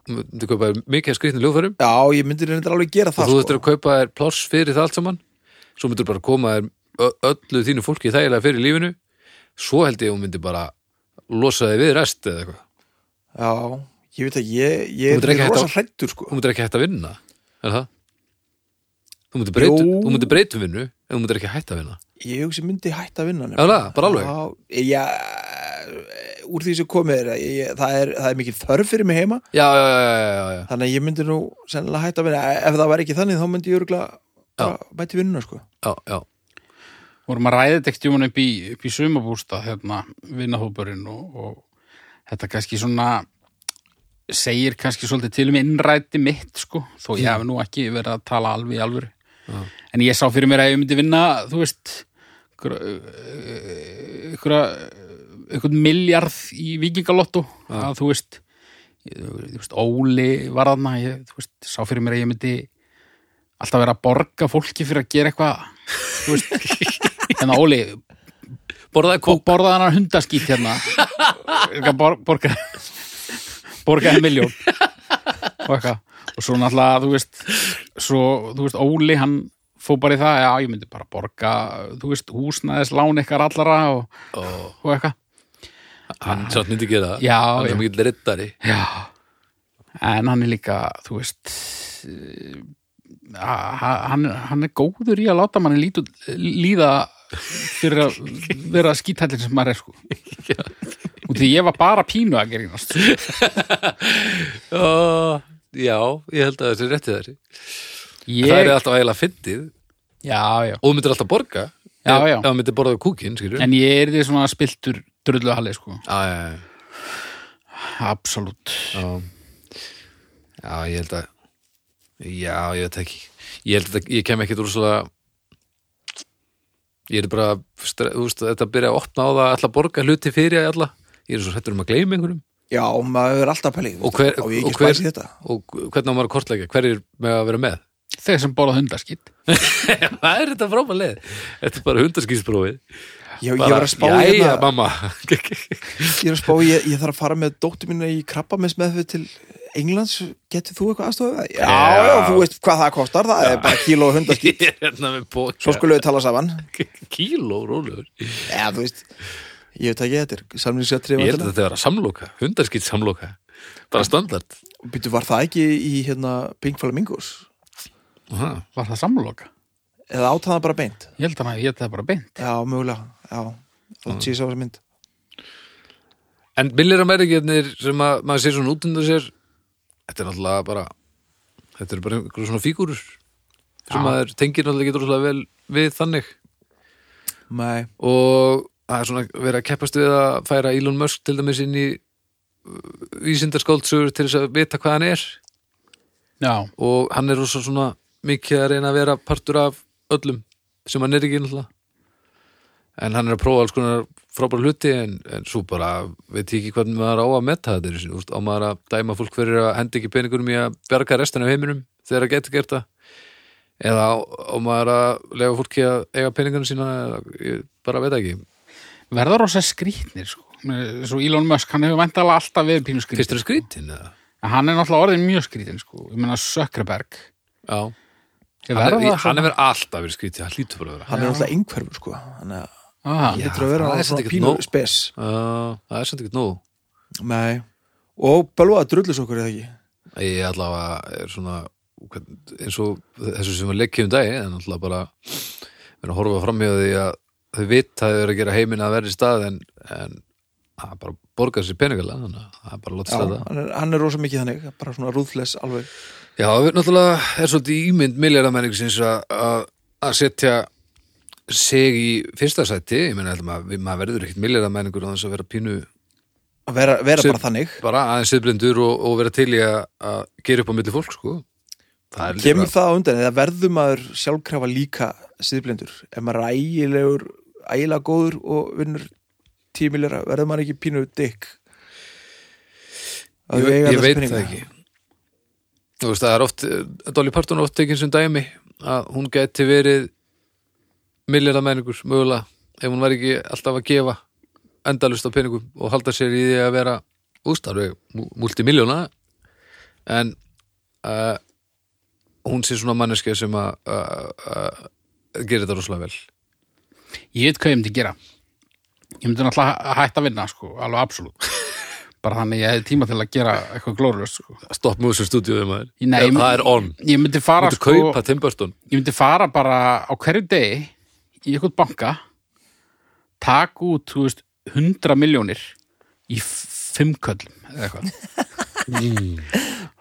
Speaker 3: þú kaupa þér mikið af skrýtnum ljóðfærum
Speaker 1: Já, ég myndi reyndir alveg gera
Speaker 3: og
Speaker 1: það
Speaker 3: þú
Speaker 1: sko.
Speaker 3: ættir að kaupa þér pláss fyrir það allt saman svo myndir bara koma þér ö- öllu þínu fólki þægilega fyrir í lífinu svo held ég að hún myndi bara losa þig við rest eða eitthvað
Speaker 1: Já, ég veit að ég,
Speaker 3: Þú
Speaker 1: ég
Speaker 3: myndir ekki
Speaker 1: er
Speaker 3: hætta
Speaker 1: rosa
Speaker 3: á-
Speaker 1: hrættur sko
Speaker 3: þú myndir ekki hætta að vinna er það? þú myndir breytu,
Speaker 1: Jú.
Speaker 3: þú myndir breytu vinnu en þú myndir ekki hætta að vinna
Speaker 1: Ég hugsi myndi hætta að vinna
Speaker 3: er
Speaker 1: nefnilega.
Speaker 3: það, bara alveg
Speaker 1: Já, já, úr því sem komið er, að ég, það er það er mikil þörf fyrir mig heima
Speaker 3: já, já, já, já, já, já.
Speaker 1: þannig að ég myndi nú sennilega hætta að vinna Eh, ef það var ekki þannig þá myndi ég örgulega bæti vinnuna sko
Speaker 3: já, já.
Speaker 2: vorum að ræða þetta ekki um upp í, upp í sumabústa hérna, vinnahópurinn og, og þetta kannski svona segir kannski svolítið til um innræti mitt sko, þó ég hef nú ekki verið að tala alveg í alvöru en ég sá fyrir mér að ég myndi vinna þú veist ykkur einhvern miljard í vikingalotto að þú veist, ég, þú veist Óli var þarna ég, þú veist, sá fyrir mér að ég myndi alltaf vera að borga fólki fyrir að gera eitthvað þú veist, en Óli
Speaker 3: borðaði
Speaker 2: bó-
Speaker 3: kók
Speaker 2: borðaði hann hundaskít hérna Eitthvað bor, borga borgaði miljón og eitthvað og svo náttúrulega, þú veist svo, þú veist, Óli, hann fór bara í það, já, ég myndi bara borga þú veist, húsnæðis, lán ykkar allara og, og eitthvað
Speaker 3: hann satt myndi gera það
Speaker 2: Ah. Já,
Speaker 3: hann
Speaker 2: já.
Speaker 3: er mikill reddari
Speaker 2: Já, en hann er líka, þú veist, eh, ha- hann, hann er góður í að láta manni lítu, líða fyrir að vera skítallin sem maður er, sko. Og því ég var bara pínu að gerðinast.
Speaker 3: já, já, ég held að þessi rétti þar
Speaker 2: Ég,
Speaker 3: það er alltaf eiginlega fyndið
Speaker 2: já, já.
Speaker 3: og þú myndir alltaf borga
Speaker 2: Já,
Speaker 3: Ef-
Speaker 2: já.
Speaker 3: ef þú myndir borðaði kúkin, skilur
Speaker 2: En ég er því svona spiltur drulluhalli, sko.
Speaker 3: já, já, já.
Speaker 2: Absolutt.
Speaker 3: Já, já ég held að Já, ég veit ekki Ég held að ég kem ekkit úr svo Ég er bara stre- þú veist, Þetta byrja að opna á það Alla borga hluti fyrir alla Ég er svo hættur um að gleyma einhverjum
Speaker 1: Já, maður er alltaf pæling
Speaker 3: Og hver-
Speaker 1: og ég
Speaker 3: og
Speaker 1: ekki
Speaker 3: hver-
Speaker 1: spæst í þetta
Speaker 3: Og hvernig á maður að kortleika, hverjir með að vera með
Speaker 2: Þegar sem borða hundaskýtt.
Speaker 3: Það er þetta frábæð leið Þetta er bara hundaskýsprófið
Speaker 1: Ég, ég var að spá í
Speaker 3: Jæja,
Speaker 1: hérna,
Speaker 3: mamma
Speaker 1: ég, er að spá, í- ég, ég þarf að fara með dóttir mínu í krabbamessmeðfið til Englands, getur þú eitthvað aðstofað? Já, já,
Speaker 3: Já.
Speaker 1: þú veist hvað það kostar, það er bara kíló og hundaskýr
Speaker 3: Ég er hérna með
Speaker 1: Svo
Speaker 3: bóka
Speaker 1: skulum við tala saman
Speaker 3: Kíló, rólegur
Speaker 1: Já, þú veist, ég veit ekki þetta er samlingsjáttri
Speaker 3: Ég held að þetta vera samloka, hundaskýt samloka Bara standart
Speaker 1: Býtu, var það ekki í hérna Pink Flamingos?
Speaker 3: Aha.
Speaker 2: Var það samloka?
Speaker 1: Eða átt hann það bara beint?
Speaker 2: Ég held að hann, ég held að það bara beint.
Speaker 1: Já, mögulega, já
Speaker 3: Mm.
Speaker 1: Þú sé sá þessa mynd
Speaker 3: En millir Amerikanir sem að, maður sér svona út undan sér Þetta er náttúrulega bara Þetta eru bara einhverjum svona fígúrur sem
Speaker 2: Já.
Speaker 3: maður tengir náttúrulega ekki droslega vel við þannig
Speaker 1: Nei,
Speaker 3: og það er svona verið að keppast við að færa Elon Musk til dæmis inn í vísindarskóldsögur til þess að vita hvað hann er
Speaker 2: Já,
Speaker 3: og hann er rosa svona mikið að reyna að vera partur af öllum sem hann er ekki náttúrulega en hann er að prófa alls konar frábæra hluti en, en svo bara veit ég ekki hvernig maður á að metta þetta einu sinni, þú veist, á maður að dæma fólk fyrir að henda ekki peningurum í að bjarga restan af heiminum þegar það getur gert það eða á, á maður að lega fólki að eiga peningunum sína eða, ég bara veit það ekki
Speaker 2: verða rosa skrýtnir, sko. Svo Elon Musk, hann hefur væntalega alltaf verið pínu skrýtnir.
Speaker 3: fyrst er skrítin eða
Speaker 2: En hann er náttúrulega orðin mjög skrítin, sko. Ég meina Sökkraberg.
Speaker 3: Já,
Speaker 2: Ég
Speaker 3: hann er,
Speaker 2: verða það
Speaker 3: hann
Speaker 2: svona.
Speaker 3: er verið alltaf verið skrítið, hann lítur bara að vera
Speaker 1: hann er alltaf einhverfur sko Þannig að
Speaker 2: Ah,
Speaker 1: Lítur að
Speaker 3: það
Speaker 1: vera á
Speaker 3: er samt
Speaker 1: svona
Speaker 3: ekkert
Speaker 1: pínu
Speaker 3: nóg.
Speaker 1: spes
Speaker 3: uh, Það er samt ekkert nóg
Speaker 1: Nei Og bölvaða drullus okkur eða ekki
Speaker 3: Ég allavega er svona hvern- eins og þessu sem var leikið um dagi en allavega bara verið að horfa framhjá því að þau vita að þau eru að gera heiminn að verði stað en, en að bara borga sér peningalega þannig að það er bara að láta
Speaker 1: Já,
Speaker 3: stæða
Speaker 1: hann er, hann er rosa mikið þannig Bara svona rúðfles alveg
Speaker 3: Já, við náttúrulega er svolítið ímynd milljaramenningsins að að setja sig í fyrsta sæti, ég meina ætli maður, við- maður verður ekkert milljaramenningur á þess að vera pínu
Speaker 1: Að vera, vera
Speaker 3: Sem-
Speaker 1: bara þannig
Speaker 3: bara aðeins siðblindur og, og vera til í að, að gera upp á milli fólk sko Það er
Speaker 1: Kemur það á undan eða verður maður sjálfkrafa líka síðblindur Ef maður er ægilegur, ægilega góður og vinnur tímiljara Verður maður ekki pínu dykk
Speaker 3: ég, ég, veit það ekki þú veist það er oft eh, Dolly Parton er oft tekin sem dæmi að hún gæti verið millera menningur mögulega ef hún var ekki alltaf að gefa endalust á peningum og halda sér í því að vera úst alveg multimiljóna en uh, hún sé svona manneski sem að uh, uh, gerir þetta rosalega vel
Speaker 2: Ég veit hvað ég myndi gera Ég myndi náttúrulega hæ- hætta að vinna sko, alveg absolutt bara þannig að ég hefði tíma til að gera eitthvað glórulöst sko.
Speaker 3: Stopp Motion Studio maður.
Speaker 2: Nei, ég myndi-
Speaker 3: það er on
Speaker 2: Ég myndi fara
Speaker 3: Þú
Speaker 2: sko,
Speaker 3: kaupa Tim Burton
Speaker 2: ég myndi fara bara á hverju degi í eitthvað banka taka út, þú veist, 100 miljónir í f- fimm köllum eða eitthvað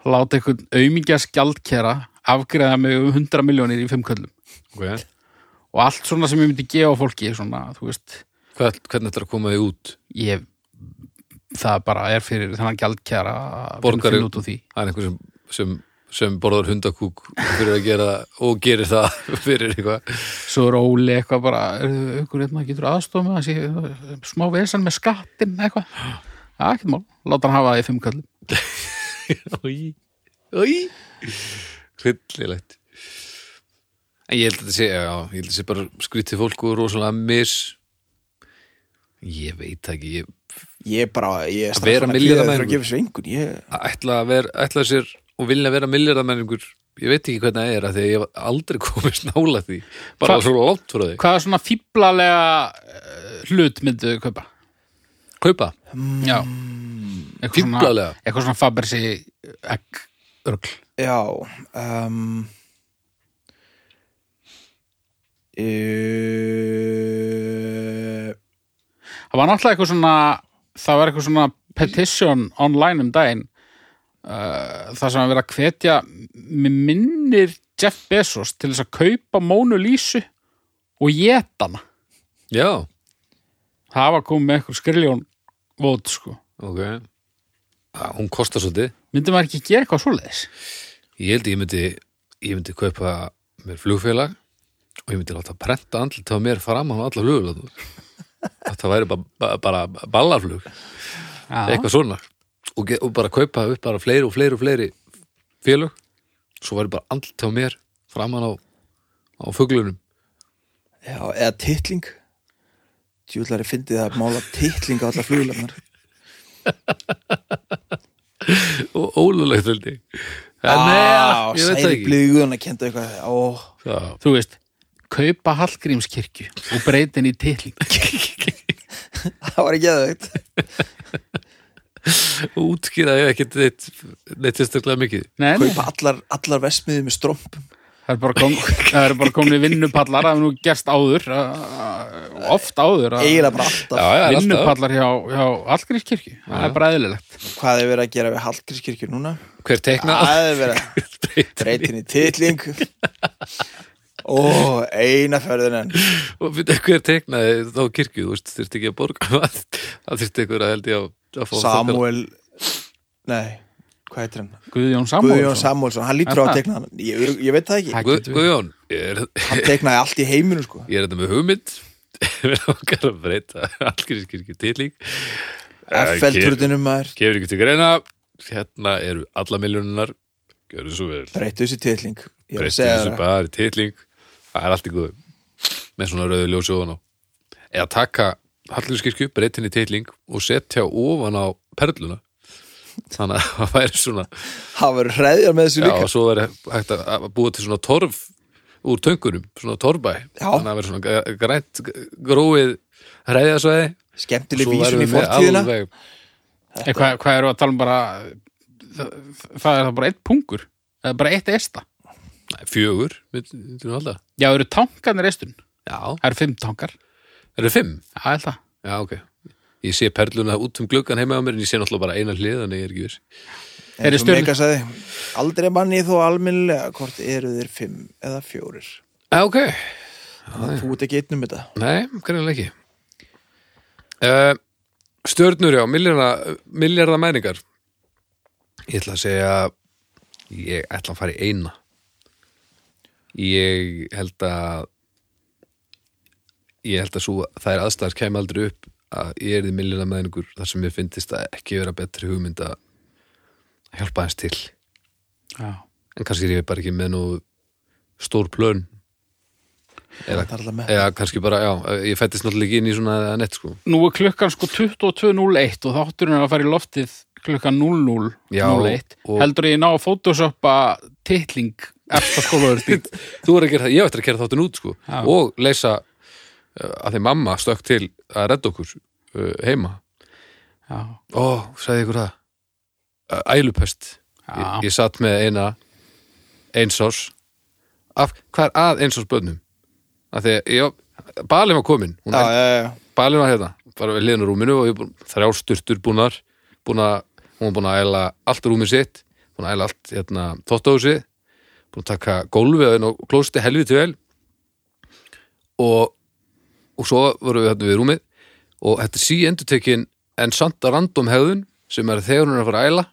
Speaker 2: láta eitthvað aumingja skjaldkera afgreða mig um 100 miljónir í fimm köllum
Speaker 3: okay.
Speaker 2: og allt svona sem ég myndi gefa fólki svona, þú veist,
Speaker 3: Hvern, Hvernig ætlar að koma því út?
Speaker 2: ég það bara er fyrir þennan gjaldkjara að
Speaker 3: Borgari-
Speaker 2: finna út úr því
Speaker 3: Það er einhver sem, sem, sem borðar hundakúk fyrir að gera það og gerir það fyrir eitthvað
Speaker 2: svo er Óli eitthvað bara aukur eitthvað getur aðstofað með að sé eh, smá vesan með skattinn eitthvað ja, ekkert mál, láta hann hafa það í fimm kallum
Speaker 3: Í, í Hryllilegt En ég held að þetta sé, já, ég held að þetta sé bara skrítið fólk og rosalega mis Ég veit það ekki, ég
Speaker 1: Ég bara, ég er
Speaker 3: Að vera
Speaker 1: strax svona
Speaker 3: milljarðamenn.
Speaker 1: kvíðaður fyrir að gefa sér einhvern Ég,
Speaker 3: ætla að vera, ætla sér og vilja vera milljarðamenningur ég veit ekki hvernig það er að því að ég hef aldrei komist nála því bara
Speaker 2: Hvað-
Speaker 3: svo langt frá því
Speaker 2: hvað er svona fíblalega eh, hlut myndu þau kaupa?
Speaker 3: Kaupa,
Speaker 2: Já eitthvað svona,
Speaker 3: Fíflalega?
Speaker 2: eitthvað svona Fabersi egg örgl
Speaker 1: já um, uh,
Speaker 2: það var náttúrulega eitthvað svona það var eitthvað svona petition online um daginn uh, það sem að vera að hvetja mér minnir Jeff Bezos til þess að kaupa Mónu Lísu og getana
Speaker 3: já,
Speaker 2: það var komið með eitthvað skriljón vót sko,
Speaker 3: ok að, hún kostar svolítið
Speaker 2: myndi maður ekki gera eitthvað svoleiðis
Speaker 3: Ég held að ég myndi, ég myndi kaupa mér flugfélag og ég myndi láta prenta andlut á mér fram á alla flugfélag að það væri bara, bara, bara ballarflug
Speaker 2: Já.
Speaker 3: eitthvað svona og, ge- og bara kaupa upp bara fleiri og fleiri og fleiri félög svo væri bara andlut á mér fram á, á fuglunum
Speaker 1: Já, eða titling Djúlari fyndið að mála titling á alla fluglarnar
Speaker 3: og ólulegt held ég en
Speaker 1: Á,
Speaker 3: neða, ég veit það
Speaker 1: Særi
Speaker 3: ekki
Speaker 1: blíðuðan að kenda eitthvað Ó,
Speaker 3: Já.
Speaker 2: þú veist, kaupa Hallgrímskirkju og breytin í titling
Speaker 1: það var ekki aðveikt
Speaker 3: útskýra ég ekkit neitt, neitt sérstaklega mikið
Speaker 2: nei, nei,
Speaker 1: Kaupa allar, allar vestmiðið með strómpum
Speaker 2: það er bara, kom, það er bara komin í vinnupallar það er nú gerst áður uh, oft áður að-
Speaker 1: Eiginlega bara alltaf
Speaker 3: já, alltaf.
Speaker 2: vinnupallar hjá, hjá Hallgrímskirkju það er bara eðlilegt
Speaker 1: Hvað er verið að gera við Hallgrískirkju núna?
Speaker 3: hver teikna
Speaker 1: Það er verið að breyta henni í titling Ó, eina ferðin en
Speaker 3: og við hver teiknaði þá kirkju þú veist, þurfti ekki að borga um það það þurfti einhver að held ég að, að fá
Speaker 1: Samuel Nei, hvað heitir hann? Guðjón
Speaker 2: Guðjón Samúlsson
Speaker 1: Samuelsson, hann lítur á
Speaker 2: Er
Speaker 1: að
Speaker 2: það?
Speaker 1: tekna hann ég, ég veit það ekki,
Speaker 2: Takk.
Speaker 3: Guð, Guðjón, ég er,
Speaker 1: hann teknaði allt í heiminu sko
Speaker 3: ég er þetta með hugmynd við okkar að breyta allgrískirkju til lík
Speaker 1: FL-turðinum maður,
Speaker 3: gefur ykkur til greina hérna eru alla miljónunar gjörðu svo vel,
Speaker 1: breyta þessi titling Ég er að
Speaker 3: breyta
Speaker 1: segja
Speaker 3: þessu
Speaker 1: það
Speaker 3: bara í titling það er allt í góðu með svona rauðu ljósi ofan á eða taka Hallgrímskirkju, breyta henni í titling og setja ofan á perluna þannig að það væri svona
Speaker 1: Það verður hreðjar með þessu
Speaker 3: Já,
Speaker 1: líka
Speaker 3: og svo er hægt að að búa til svona torf úr töngunum, svona torfbæ
Speaker 1: Já.
Speaker 3: þannig að vera svona gr- grænt gr- gróið hræðasvæði
Speaker 1: Skemmtileg vísun í fortíðina
Speaker 3: alveg
Speaker 2: Eh, hvað, hvað eru að tala um bara það, það er það bara eitt pungur það er bara eitt esta
Speaker 3: Nei, fjögur, myndir þú halda
Speaker 2: já, eru tankarnir estun,
Speaker 3: Já,
Speaker 2: það eru fimm tankar
Speaker 3: er það fimm?
Speaker 2: já, ég held það
Speaker 3: Já, ok Ég sé perluna út um gluggan heima á mér en ég sé náttúrulega bara eina hlið, þannig ég er ekki viss
Speaker 1: En
Speaker 2: Eru
Speaker 1: svo
Speaker 2: stjörnur-
Speaker 1: Mega sagði, aldrei manni þó almennilega hvort eru þeir fimm eða fjórir
Speaker 3: Já, ok,
Speaker 1: Þú ert ekki einnum þetta
Speaker 3: nei, greinlega ekki uh, Stjörnur, já, milljarða, milljarða mæringar Ég ætla að segja ég ætla að fara í eina Ég held að ég held að svo þær aðstæðar kæmi aldrei upp að ég er því millina með einhver þar sem ég fyndist að ekki vera betri hugmynd að hjálpa hans til en
Speaker 2: já.
Speaker 3: kannski er ég bara ekki með nú stór plön eða,
Speaker 1: Það er alltaf með.
Speaker 3: eða kannski bara, já, ég fættist náttúrulega ekki inn í svona nett sko
Speaker 2: nú er klukkan sko 22.01 og þátturinn er að fara í loftið klukkan 00
Speaker 3: Já,
Speaker 2: 01
Speaker 3: og-
Speaker 2: heldur ég ná að photoshoppa titling eftir skólaður stíl
Speaker 3: þú er að gera það, ég á eftir að gera þáttun út sko.
Speaker 2: Já.
Speaker 3: og leysa uh, að því mamma stökk til að redda okkur uh, heima
Speaker 2: já,
Speaker 3: ó, sagði ykkur það Æ, Eh, ælupest
Speaker 2: já,
Speaker 3: ég, ég satt með eina einsás af hvað er að einsás bönnum af því að ég, balin var komin hún
Speaker 1: já, já, já.
Speaker 3: balin var hérna, bara við liðin á rúminu og ég búin, þrjár sturtur búnar búin að, hún var búin að æla allt rúmið sitt, búin að æla allt hérna, þóttáhusi, búin að taka gólfið að og klósti helviti vel og og svo vorum við hérna við rúmið og þetta er sí endurtekin en samt að random hefðun sem er að þegar hún er að fara að æla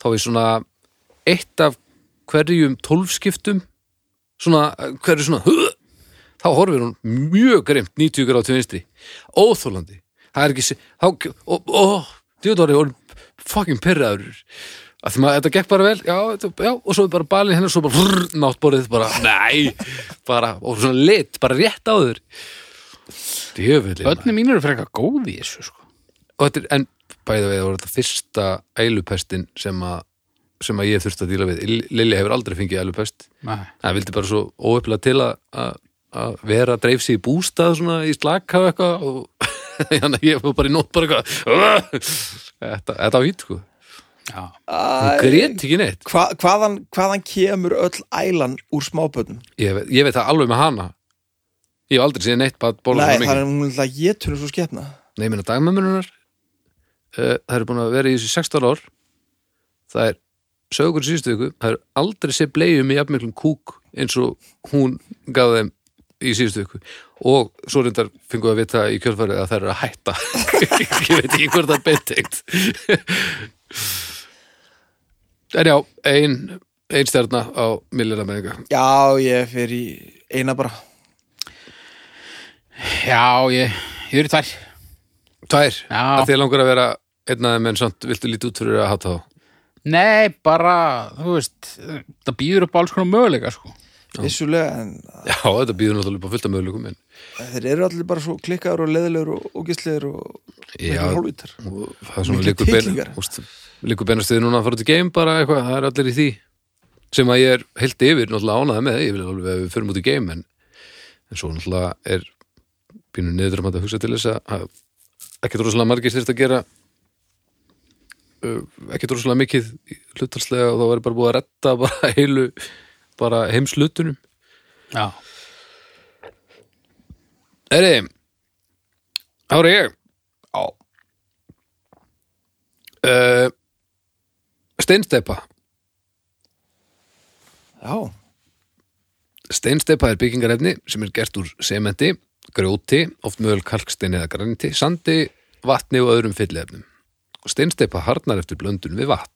Speaker 3: þá er svona eitt af hverjum tólfskiptum svona, hverju svona "Huh!" þá horfir hún mjög greimt 90 gráð til vinstri, óþólandi það er ekki, se- þá, og, og djúðdóri, hún fucking perraður að því maður, þetta gekk bara vel já, þetta- já, og svo er bara balin hennar svo bara frrr, náttborðið, bara, nei bara, og svona lit, bara rétt á þur djöfulli
Speaker 2: börnum mín eru frekar góð í þessu sko.
Speaker 3: og þetta er, en bæða veið, það var þetta fyrsta ælupestin sem að sem að ég þurfti að díla við Lill- Lilja hefur aldrei fengið ælupest
Speaker 2: Nei.
Speaker 3: hann vildi bara svo óöfla til að- að að vera að dreif sig í bústað svona í slaka og eitthvað og þannig að ég var bara í nótt bara eitthvað þetta, þetta var vít sko
Speaker 2: já,
Speaker 1: Æ,
Speaker 3: hún grét ekki neitt
Speaker 1: hva, hvaðan, hvaðan kemur öll ælan úr smábönnum?
Speaker 3: ég, ve- ég veit það alveg með hana ég hef aldrei séð neitt bara bóla
Speaker 1: Nei,
Speaker 3: svona
Speaker 1: það er
Speaker 3: mikið
Speaker 1: hún ætla að getur svo skepna
Speaker 3: Nei, ég meina dagmömmununar uh, það eru búin að vera í þessu 16 ár það er sögur síðustu viku, það er aldrei sér bleiðum í jafnmiklum kúk eins og hún gaf þeim í síðustu viku og svo reyndar fengum við að vita í kjölfarið að það eru að hætta ég veit ekki hvort það er beintengt en já, ein ein stjarna á millina menninga
Speaker 1: Já, ég fer í eina bara
Speaker 2: já ég, ég er í tvær
Speaker 3: tvær,
Speaker 2: Já.
Speaker 3: að þið langar að vera einn aðeim en samt viltu lítið út fyrir að hata þá
Speaker 2: nei, bara, þú veist það býður upp á alls konar möguleika sko.
Speaker 1: Vissulega, en eh,
Speaker 3: já, þetta býður náttúrulega upp á fullta möguleikum en
Speaker 1: þeir eru allir bara svo klikkaður og leðilegur og ógislegur og
Speaker 3: Já.
Speaker 1: miklu hólvítar
Speaker 3: og það er svona
Speaker 1: Miklir
Speaker 3: líkur beina
Speaker 1: tittlingar.
Speaker 3: úst, líkur beina stuði núna að fara til game bara eitthvað, það er allir í því sem að ég er heilt yfir náttúrulega ánaði með ég vil alveg að við förum út í game en, en svo náttúrulega er pínu niður að hugsa til þess að- að ekki rosalega margir styrst að gera uh, ekki rosalega mikið í- hlutalslega og þá væri bara búið að retta bara heilu bara heimslutunum
Speaker 2: já,
Speaker 3: Eri, ára ég
Speaker 1: Já,
Speaker 3: uh, steinstepa
Speaker 1: já,
Speaker 3: Steinsteipa er byggingarefni sem er gert úr sementi, grjóti, oft mögul kalksteini eða graniti, sandi, vatni og öðrum fylliefnum. Steinsteipa harnar eftir blöndun við vatn.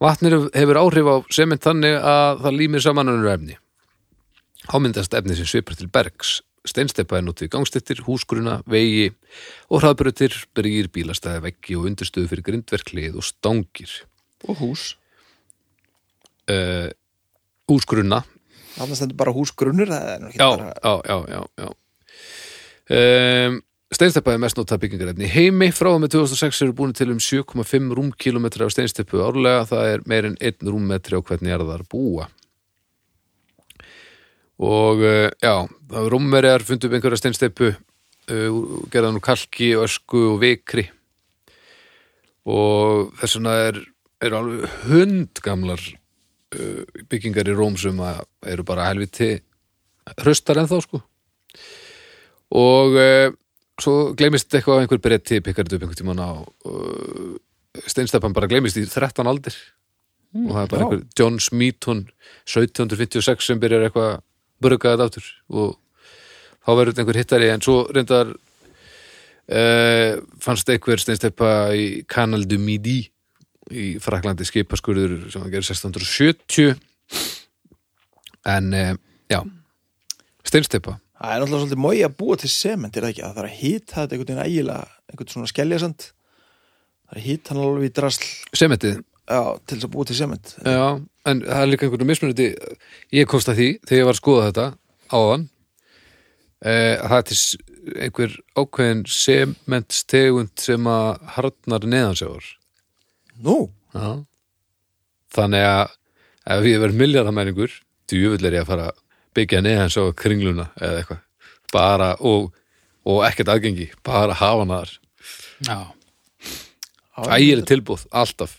Speaker 3: Vatnir hefur áhrif á sement þannig að það límir saman önnur efni. Hámyndast efni sem svipar til bergs. Steinsteipa er notuð í gangstettir, húsgruna, vegi og hraðbrutir, brýr, bílastæði, veggi og undirstöðu fyrir grindverklið og stangir.
Speaker 1: og hús
Speaker 3: Uh, húsgruna
Speaker 1: Þannig stendur bara hús grunnur Það er nú ekki
Speaker 3: já,
Speaker 1: bara
Speaker 3: já, já, já, já. Um, steinsteppa er mest notað byggingarefni í heimi frá og með 2006 eru búin til um 7,5 rúmkilometra af steinsteppu árlega, það er meir en 1 rúmmetri á hvernig jarðar búa og uh, já, það er rúmverjar fundu upp einhverja steinsteppu uh, gerðan úr kalki, ösku og vikri og þess vegna er, er alveg hundgamlar uh, byggingar í Róm sem að eru bara helviti hraustar ennþá sko og uh, svo gleymist eitthvað af einhver bretti pikkar þetta upp einhvern tímann á uh, steinstappan bara gleymist í 13 aldir og það er bara
Speaker 1: já.
Speaker 3: einhver John Smeaton 1756 sem byrjar eitthvað að burga þetta aftur og þá verður þetta einhver hittari en svo reyndar uh, fannst einhver steinsteppa í Canal du Midi í Fraklandi skipaskurður sem það gerir 1670 en uh, já steinsteppa
Speaker 1: Það er náttúrulega svolítið mói að búa til sement er það ekki, það þarf að hýta þetta einhvern veginn ægilega, einhvern svona skeljasand það er að hýta hann alveg í drasl
Speaker 3: sementið,
Speaker 1: já, til þess að búa til sement
Speaker 3: já, en það er líka einhvern mismunandi, ég komst að því þegar ég var að skoða þetta áðan eh, að það er til s- einhver ákveðin sementstegund sem að harnar neðansjávar
Speaker 1: Nú,
Speaker 3: Já. Þannig að ef ég verð miljardamæringur, djúvill er ég að fara að byggja neðan svo kringluna eða eitthvað. Bara, og, og ekkert aðgengi, bara hafa hana þar.
Speaker 2: Já.
Speaker 3: Ægileg tilbúð, alltaf.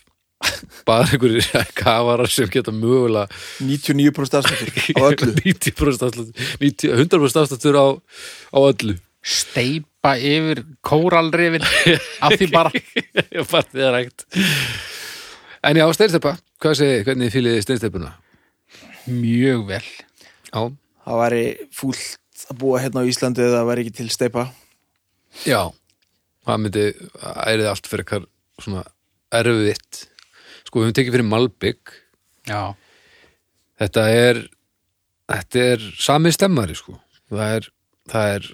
Speaker 3: Bara einhverjir kafarar sem geta mögulega
Speaker 1: 99% afslutur á öllu
Speaker 3: 90% afslátt 90 100% afsláttur á, á öllu
Speaker 2: Steipa yfir kóralrifin af því bara
Speaker 3: ég fann þið rægt en já, steinsteppa, hvað segi, hvernig fýlið steinsteppuna?
Speaker 2: mjög vel.
Speaker 3: Já,
Speaker 1: Það væri fúlt að búa hérna á Íslandi eða það væri ekki til steipa
Speaker 3: já það myndi, ærið allt fyrir eitthvað svona erfitt sko, við höfum tekið fyrir Malbygg
Speaker 2: Já.
Speaker 3: þetta er þetta er sami stemmari sko það er, það er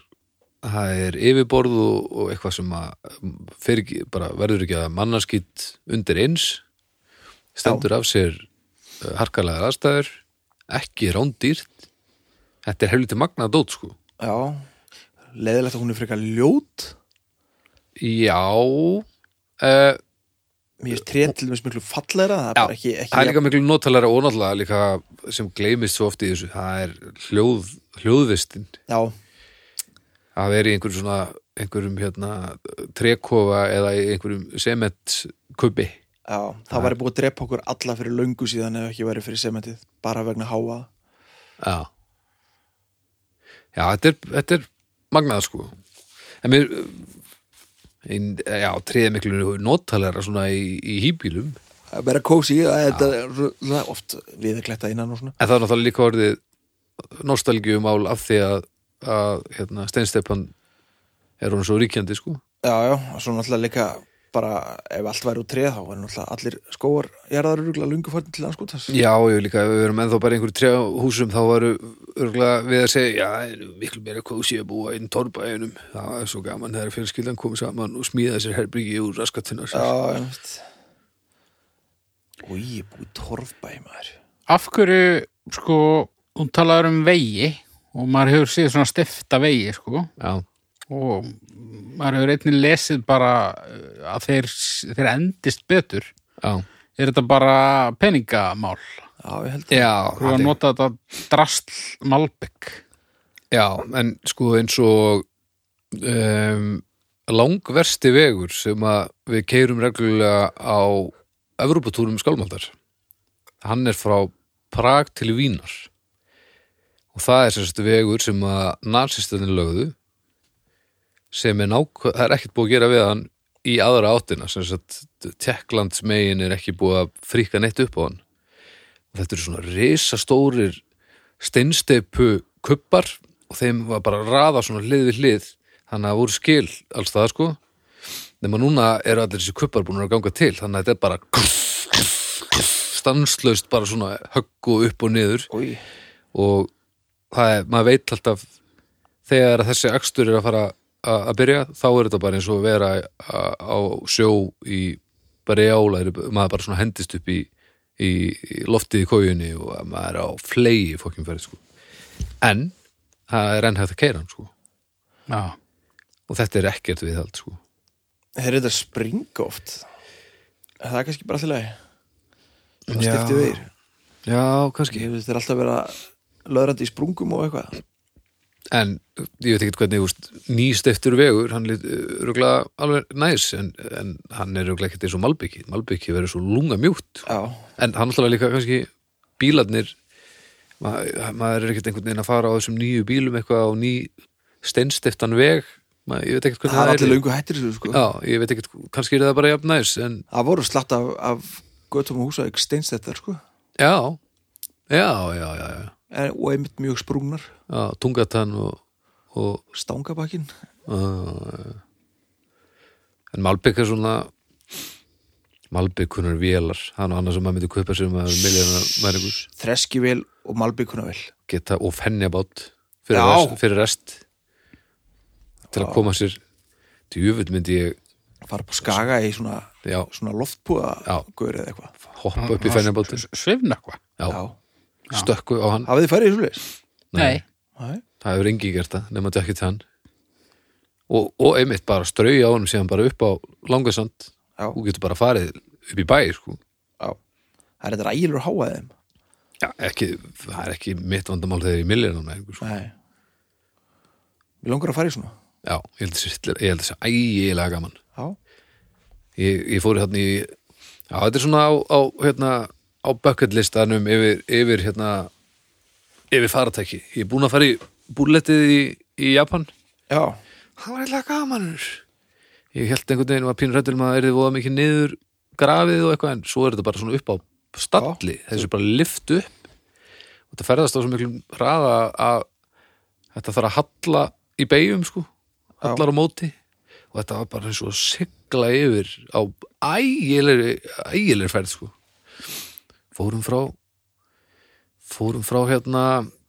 Speaker 3: það er yfirborð og, og eitthvað sem að fer ekki, bara verður ekki að mannaskitt undir eins stendur af sér uh, harkalega aðstæður ekki rándýrt þetta er helviti magnað dót sko
Speaker 1: Já, leðilegt að hún er frekar ljót
Speaker 3: já uh,
Speaker 1: Mér er trét til dæmis miklu fallera Það er
Speaker 3: Já,
Speaker 1: bara ekki, ekki
Speaker 3: það er líka miklu notalara og náttúrulega líka sem gleymist svo oft í þessu það er hljóð, hljóðvistin
Speaker 1: Já,
Speaker 3: að vera í einhverjum svona einhverjum hérna trekofa eða í einhverjum sementkubbi
Speaker 1: já, það væri búið að drepa okkur alla fyrir löngu síðan ef ekki væri fyrir sementið bara vegna háa
Speaker 3: já já, þetta er, þetta er magnað sko en mér ein, já, treð er miklu notalega svona í, í hýbílum en
Speaker 1: að vera kósi, það er það er oft viðakletta innan og svona
Speaker 3: það er náttúrulega líka orðið nostalgjumál af því að, að hérna, steinsteppan er hún svo ríkjandi sko
Speaker 1: Já, já, og svo náttúrulega líka bara ef allt væri úr treð þá væri náttúrulega allir skóar jarðar öruglega löngu fórn til anskotans
Speaker 3: Já, ég líka, ef við verum ennþá bara í einhverju trjáhúsum þá varu örgulega við að segja já, það er miklu meira kósi að búa einn torrbæðinum, það er svo gaman þegar fjölskyldan kom saman og smíða sér herbyggi úr raskatuna
Speaker 1: Já,
Speaker 3: sér.
Speaker 1: ég veist Új, ég er búið torfbæ maður
Speaker 2: Af hverju, sko, hún talaður um vegi og maður hefur síðan svona stifta vegi, sko.
Speaker 3: Já,
Speaker 2: og maður hefur einnig lesið bara uh, að þeir, þeir endist betur
Speaker 3: já,
Speaker 2: er þetta bara
Speaker 1: Já,
Speaker 2: peningamál
Speaker 1: ég held
Speaker 3: já,
Speaker 2: þú að
Speaker 3: þetta er-
Speaker 2: nota þetta drastl malbygg
Speaker 3: já, en sko eins og um, langversti vegur sem að við keirum reglulega á Evropatúrum skálmaldar hann er frá Prag til Vínar og það er sérst vegur sem að narsistinni lögðu sem er nákvæm, það er ekkert búið að gera við hann í aðra áttina sem sagt Tjekklands megin er ekki búið að fríka neitt upp á hann og þetta eru svona risastórir steinsteipu kubbar og þeim var bara að raða svona hlið við hlið þannig að það voru skil alls það sko nema núna eru allir þessi kubbar búin að ganga til þannig að þetta er bara stanslaust bara svona höggu upp og niður
Speaker 1: Új,
Speaker 3: og það er, maður veit alltaf þegar þessi akstur er að fara að að byrja, þá er þetta bara eins og að vera a- á sjó í bara í ála, maður bara svona hendist upp í, í, í loftið í kójunni og að maður er á flegi fókjum ferð, sko. En það er enn hægt að keira hann, sko.
Speaker 2: já,
Speaker 3: Og þetta er ekkert viðhald, sko.
Speaker 1: þeir eru þetta springa oft Er Það er kannski bara allir lagi Það
Speaker 3: Já.
Speaker 1: stifti veir
Speaker 3: Já, kannski.
Speaker 1: Ég veist þeir alltaf vera löðrandi í sprungum og eitthvað
Speaker 3: En ég veit ekki hvernig úst, nýstiftur vegur, hann er rúglega alveg næs, en, en hann er rúglega ekkert eins og malbyggi. Malbyggi verður svo lunga mjúkt,
Speaker 1: Já,
Speaker 3: en hann alltaf líka kannski bílarnir ma maður er ekkert einhvern veginn að fara á þessum nýju bílum eitthvað á ný steinstiftan veg maður, ég veit ekkert
Speaker 1: það er
Speaker 3: hvernig
Speaker 1: allir
Speaker 3: það er
Speaker 1: löngu hættir þessu sko
Speaker 3: Já, ég veit ekkert, kannski er það bara jafn næs en
Speaker 1: Það voru slatt af, af götum og húsavík steinstættar sko
Speaker 3: já, já, já, já, já.
Speaker 1: En- og einmitt mjög sprungnar
Speaker 3: já tungatan og, og
Speaker 1: stangabakkin
Speaker 3: uh, en Malbygg er svona Malbygg kunnar vélar hann og annars sem maður myndi kaupa sér maður miljónar mæringur
Speaker 1: þreskivél og malbyggkunavél
Speaker 3: geta og fennjabát fyrir,
Speaker 1: Já.
Speaker 3: rest, fyrir rest til að koma sér til jöfull myndi ég
Speaker 1: fara upp á skaga í svona,
Speaker 3: já,
Speaker 1: svona loftpúða
Speaker 3: Já.
Speaker 1: gaur eða eitthvað
Speaker 3: hoppa upp í fennjabátin
Speaker 2: svifna eitthvað
Speaker 3: já,
Speaker 1: Já.
Speaker 3: stökku á hann
Speaker 1: Hafið þið farið í svoleiðis?
Speaker 3: Nei.
Speaker 1: Nei.
Speaker 3: það hefur engi gert það, nema ekki til hann og, og einmitt bara strauja á honum síðan bara upp á langasand
Speaker 1: Já.
Speaker 3: og getur bara farið upp í bæ sko.
Speaker 1: Já. Það er þetta ægilur háaðið
Speaker 3: Já, ekki, það er ekki mitt vandamál þegar ég millir núna einhver, sko.
Speaker 1: Nei Við langar að fara í svona
Speaker 3: Já, ég held þessi hryllir- ég held þessi ægilega gaman
Speaker 1: Já,
Speaker 3: ég, ég fóri þarna í já, þetta er svona á, á hérna á bucket listanum yfir, yfir hérna yfir faratæki ég er búin að fara í búrletið í, í Japan
Speaker 1: já,
Speaker 3: það var eitthvað gamanur ég held einhvern veginn var pínur hættur um að það erði voða mikið niður grafið og eitthvað en svo er þetta bara svona upp á stalli þessu er bara lift upp og þetta ferðast á svo miklum hraða að þetta þarf að halla í beigjum sko, hallar á móti og þetta var bara eins og að sigla yfir á ægilegri ægilegri ferð sko fórum frá fórum frá hérna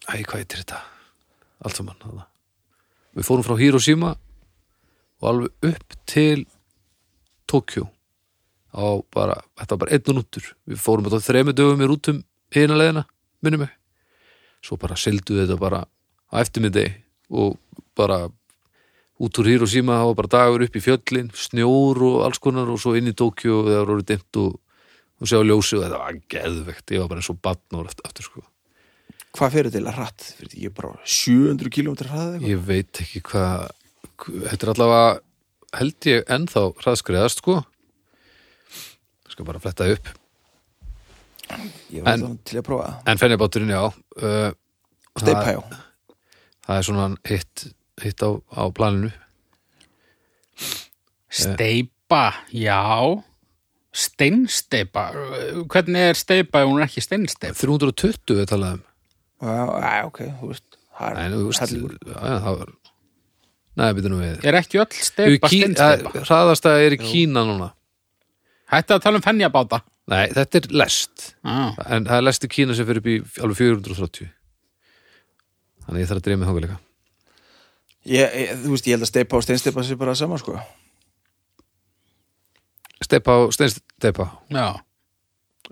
Speaker 3: æ, hvað heitir þetta? allt saman hana. við fórum frá Hiroshima og alveg upp til Tokjó á bara, þetta var bara einn og núttur við fórum þetta á þremur dögum í rútum hina leiðina, minnum mig svo bara sildu þetta bara á eftirmiðdegi og bara út úr Hiroshima það var bara dagur upp í fjöllin, snjór og alls konar og svo inn í Tokjó og það var orðið dimmt og, og sjá ljósi og þetta var geðvegt, ég var bara eins og batnór eftir, eftir sko.
Speaker 1: hvað fyrir til að hratt? Fyrir því ég er bara 700 km hraðið eitthvað
Speaker 3: Ég veit ekki hvað Þetta er allavega held ég ennþá hraðskriðast sko Ég skal bara fletta upp
Speaker 1: Ég var
Speaker 3: en-
Speaker 1: þannig til að prófa það
Speaker 3: En fennibáturinn, já uh,
Speaker 1: Steipæjó,
Speaker 3: Það er svona hitt, hitt á, á planinu
Speaker 2: Steipa, já Steinsteipa Hvernig er steipa ef hún er ekki steinsteipa?
Speaker 3: 320 við talaðum
Speaker 1: já, já, ok, þú veist Það
Speaker 3: um. Nei,
Speaker 1: er
Speaker 3: nú, þú veist,
Speaker 1: hellingur.
Speaker 3: já, já, það var Nei, byrjum við
Speaker 2: Er ekki öll
Speaker 3: Jú,
Speaker 2: steipa
Speaker 3: Kín- að-
Speaker 2: steinsteipa?
Speaker 3: eh, Hraðasta er í Kína núna
Speaker 2: Hætti að tala um fennjabáta
Speaker 3: Nei, þetta er lest
Speaker 2: ah.
Speaker 3: En það er lest í Kína sem fyrir upp í alveg 430 Þannig ég þarf að dreymið þangað líka
Speaker 1: ég, ég, Þú veist, ég held að steipa og steinsteipa sér bara saman sko
Speaker 3: Steipa á, steinsteipa
Speaker 2: Já,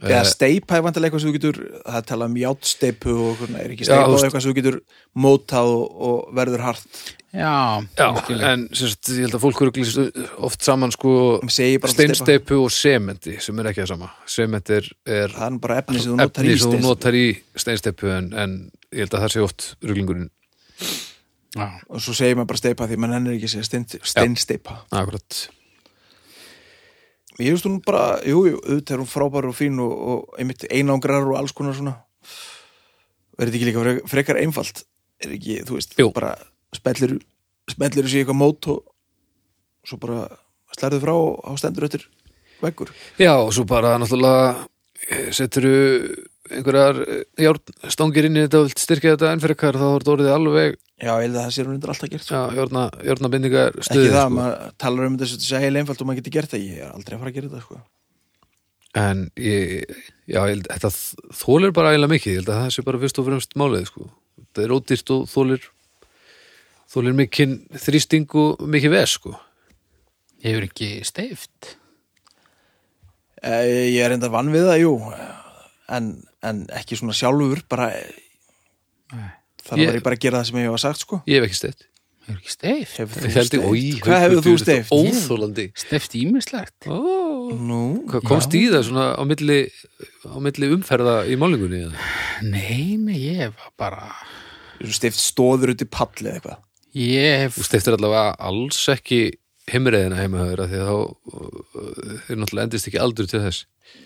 Speaker 3: Eh.
Speaker 1: Eða steipa er vantilega eitthvað sem þú getur Það tala um játsteipu og hvernig er ekki
Speaker 3: Já, þú
Speaker 1: steipa og
Speaker 3: veist-
Speaker 1: eitthvað sem þú getur mótað og, og verður hart
Speaker 2: já,
Speaker 3: Já,
Speaker 2: ég skil.
Speaker 3: en sérst, ég held að fólk eru oft saman sko
Speaker 1: Segir bara um steipa
Speaker 3: steinsteipu og sementi sem er ekki það sama sementi er, er
Speaker 1: Það er nú bara efni sem þú notar
Speaker 3: efni
Speaker 1: í
Speaker 3: sem þú
Speaker 1: steinsteipu
Speaker 3: notar í steinsteipu en, en ég held að það sé oft ruglingurinn
Speaker 2: já.
Speaker 1: Og svo segir maður bara steipa því mann henni ekki að segja stein, steinsteipa
Speaker 3: akkurat
Speaker 1: Ég veist hún bara, jú, jú, auðvitað er hún frábær og fín og, og einmitt einangrar og alls konar svona Er þetta ekki líka frekar, frekar einfalt? Er ekki, þú veist,
Speaker 3: Jú.
Speaker 1: bara spellir spellir þessu í eitthvað mót og svo bara slærðu frá og á stendur öttur veggur
Speaker 3: Já, og svo bara náttúrulega setur einhverjar eh, járnstangir inn í þetta og vilt styrkja þetta enn fyrir hvað þá er þetta orðið alveg
Speaker 1: Já, ég held að það sé hún undir alltaf gert sko.
Speaker 3: já, járna, járnabindingar
Speaker 1: Ekki
Speaker 3: stuðið
Speaker 1: það,
Speaker 3: sko.
Speaker 1: maður talar um þetta sem þetta sé heil einfalt og maður getur gert það Ég er aldrei að fara að gera þetta, sko
Speaker 3: en ég, já, ég held, þetta þólir bara eiginlega mikið, ég held að það sé bara fyrst og fremst málið, sko, þetta er ódýrt og þólir þólir mikið þrýsting og mikið ves, sko
Speaker 2: Ég er ekki steift
Speaker 1: Eh, Ég er enda vann við það, jú En, en ekki svona sjálfur, bara Þannig
Speaker 3: Ég-
Speaker 1: var ég bara að gera það sem ég hef sagt, sko
Speaker 3: ég hef ekki steitt
Speaker 2: Ég er ekki steift
Speaker 1: Hefur
Speaker 3: Ég held ég- Oj,
Speaker 1: Hvað hefur
Speaker 3: þetta
Speaker 1: þú
Speaker 3: er
Speaker 1: steift?
Speaker 3: Óþólandi
Speaker 2: Steift ímislegt
Speaker 3: Ó,
Speaker 1: Nú,
Speaker 3: Hvað komst í það svona á milli á milli umferða í málingunni eða?
Speaker 2: Nei, nei, ég var bara
Speaker 1: þú steift stóður út í palli eða eitthvað
Speaker 2: Ég hef
Speaker 3: Þú steiftir allavega alls ekki heimreiðina heimaður því að þá uh, þeir náttúrulega endist ekki aldur til þess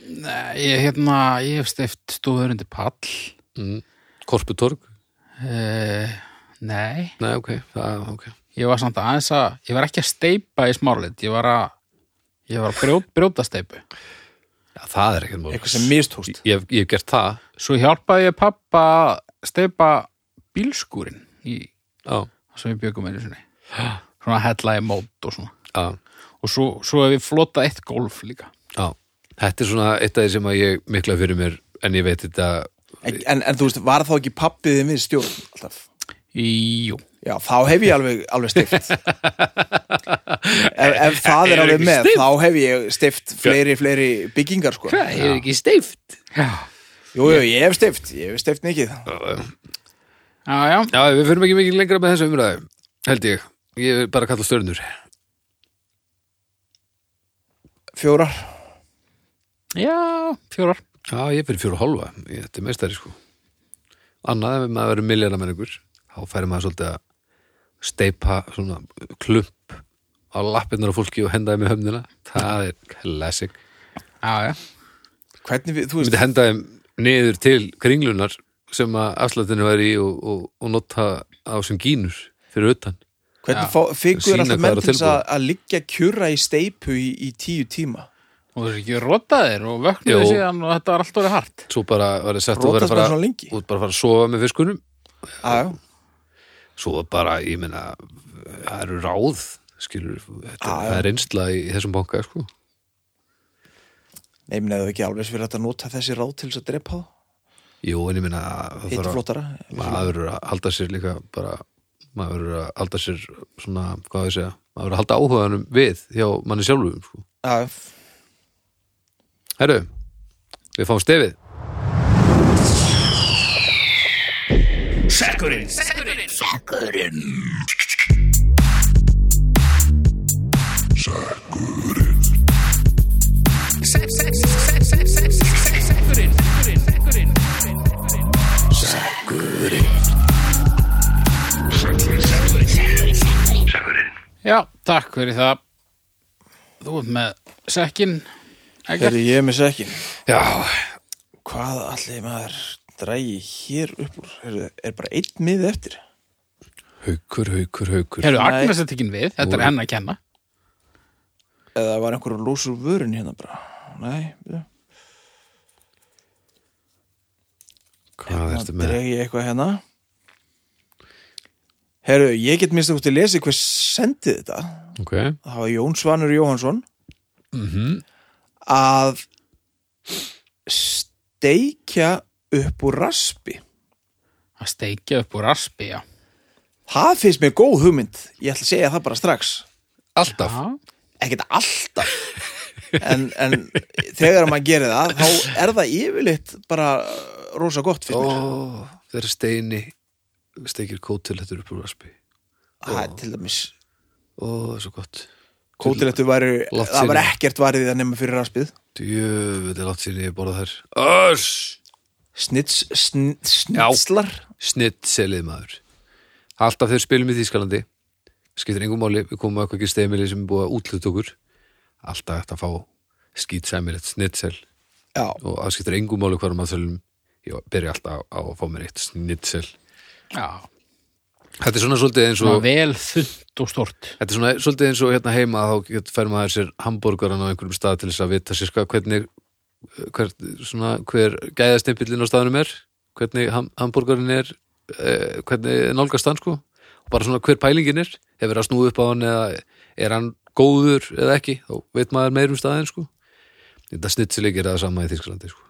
Speaker 2: Nei, ég, hérna, ég hef steift stóður undir pall
Speaker 3: mm. Korputorg?
Speaker 2: uh, Nei,
Speaker 3: Nei, ok, það, ok
Speaker 2: ég var samt aðeins að ég var ekki að steipa í smárlit ég var að, ég var að brjóta, brjóta steipu
Speaker 3: Já, það er ekkert mál
Speaker 1: eitthvað sem mistóst
Speaker 3: Ég, hef- ég hef gert það
Speaker 2: Svo hjálpaði ég pappa að steipa bílskúrin í,
Speaker 3: Já,
Speaker 2: sem við bjögum einu sinni svona hella í mót og svona
Speaker 3: já,
Speaker 2: og svo, svo hef ég flotað eitt golf líka
Speaker 3: já Þetta er svona eitt af því sem að ég mikla fyrir mér en ég veit þetta
Speaker 1: en, en, en þú veist, var þá ekki pappiðið við stjórn alltaf?
Speaker 2: í, Jú,
Speaker 1: Já, þá hef ég alveg, alveg steift ef, ef það er
Speaker 3: Er
Speaker 1: alveg
Speaker 3: ekki
Speaker 1: með
Speaker 3: steift?
Speaker 1: þá hef ég steift fleiri, fleiri byggingar sko. Jú,
Speaker 3: er ekki steift
Speaker 2: já,
Speaker 1: jú, ég hef steift, ég hef steift mikið
Speaker 2: já, já
Speaker 3: Já, við fyrir ekki mikið lengra með þessu umræðu held ég, ég er bara að kalla stjörnur
Speaker 1: Fjórar
Speaker 2: Já, fjórar.
Speaker 3: Já, ég er fyrir fjóra og hálfa, ég, þetta er meistari sko. Annað ef maður verið milljarna menningur, þá færi maður svolítið að steipa svona klump á lappirnar á fólki og hendaði með höfnina. Það er classic.
Speaker 2: Já, já.
Speaker 1: Hvernig við, þú
Speaker 3: Ég
Speaker 1: veist,
Speaker 3: myndi hendaði niður til kringlunar sem að afslættinu var í og, og, og nota á sem gínur fyrir utan.
Speaker 1: hvernig fá, figur
Speaker 3: Sýna
Speaker 1: alltaf
Speaker 3: hvað
Speaker 1: menn
Speaker 3: er á
Speaker 1: til þess
Speaker 3: tilboði.
Speaker 1: að, að liggja kjurra í steipu í, í tíu tíma?
Speaker 2: Og þú er ekki rotaðir og vöknuðu
Speaker 3: Jú.
Speaker 2: síðan og þetta var allt orðið hart.
Speaker 3: Svo bara var það sett að vera
Speaker 1: Rótast
Speaker 3: að fara
Speaker 1: bara svona lengi?
Speaker 3: út bara að fara að sofa með fiskunum.
Speaker 1: Já, já.
Speaker 3: Svo bara, ég meina, það eru ráð, skilur, þetta,
Speaker 1: Já, já.
Speaker 3: það er reynsla í þessum banka, sko.
Speaker 1: Nei, minn eða ekki alveg fyrir að nota þessi ráð til þess að drepa þá?
Speaker 3: Jú, en ég meina, það þarf
Speaker 1: Eitt
Speaker 3: að,
Speaker 1: flottara?
Speaker 3: maður verður að halda sér líka bara, maður verður að halda sér svona, hvað á ég að segja, maður verður að halda áhugaðanum við hjá manni sjálfum, sko.
Speaker 1: Já,
Speaker 3: Herru, við fáum stefið.
Speaker 2: Já, takk fyrir það. Þú ert með sekkin, ekkert.
Speaker 1: þegar ég er með sekkin.
Speaker 3: Já,
Speaker 1: Hvað allir maður drægi hér upp úr? Heyrðu, Er bara einn mið eftir?
Speaker 3: haukur, haukur, haukur.
Speaker 2: Hefur
Speaker 1: Nei.
Speaker 2: Agnes þetta ekki við? Þetta er
Speaker 3: Jú.
Speaker 2: henn að kenna.
Speaker 1: Eða var einhver að lósa úr vörun hérna bara? Nei, já.
Speaker 3: Hvað ertu
Speaker 1: Þannig
Speaker 3: með?
Speaker 1: dreg ég eitthvað hérna Herru, ég get minnst út í lesi hver sendið þetta
Speaker 3: Ok,
Speaker 1: það var Jón Svanur Jóhansson
Speaker 3: mhm,
Speaker 1: að steikja upp úr raspi
Speaker 2: Að steikja upp úr raspi, já.
Speaker 1: það finnst mér góð hugmynd ég ætla að segja það bara strax
Speaker 3: alltaf.
Speaker 2: Já.
Speaker 1: ekkert alltaf en, en þegar maður gerir það þá er það yfirleitt bara rosa
Speaker 3: Ó,
Speaker 1: gott fyrir mér
Speaker 3: þeirra steini steikir kótilettur upp úr raspi.
Speaker 1: það er til dæmis
Speaker 3: Ó, það er svo gott.
Speaker 1: kótilettu væri,
Speaker 3: Látt
Speaker 1: það var
Speaker 3: sinni.
Speaker 1: ekkert varðið að nema fyrir raspið
Speaker 3: Djöfull er látt síðan ég hef borðað þær. Öss!
Speaker 1: Snits, sn, snitslar
Speaker 3: Snitt selið maður. Alltaf þegar við spilum í Þýskalandi. Skiptir engum máli, við komum að eitthvað ekki steimili sem er búið að útlut okkur. Alltaf eftir að fá skýtsæmilegt snittsel
Speaker 1: Já,
Speaker 3: og það skiptir engum máli hvarum að þölum. Ég byrja alltaf á að fá mér eitt snittsel.
Speaker 2: Já.
Speaker 3: Þetta er svona svolítið eins
Speaker 2: Svo
Speaker 3: og
Speaker 2: vel þund og stort.
Speaker 3: Þetta er svona svolítið eins og hérna heima þá get- fær maður sér hambúrgaran á einhverjum stað til þess að vita sér hvað hvernig hver, svona, hver gæðastimpillin á staðnum er hvernig ham, hambúrgarin er eh, hvernig nálgast hann sko og bara svona hver pælingin er hefur að snúið upp á hann eða er hann góður eða ekki, þá veit maður meir um staðin sko þetta snittsileg er það sama í Þísklandi sko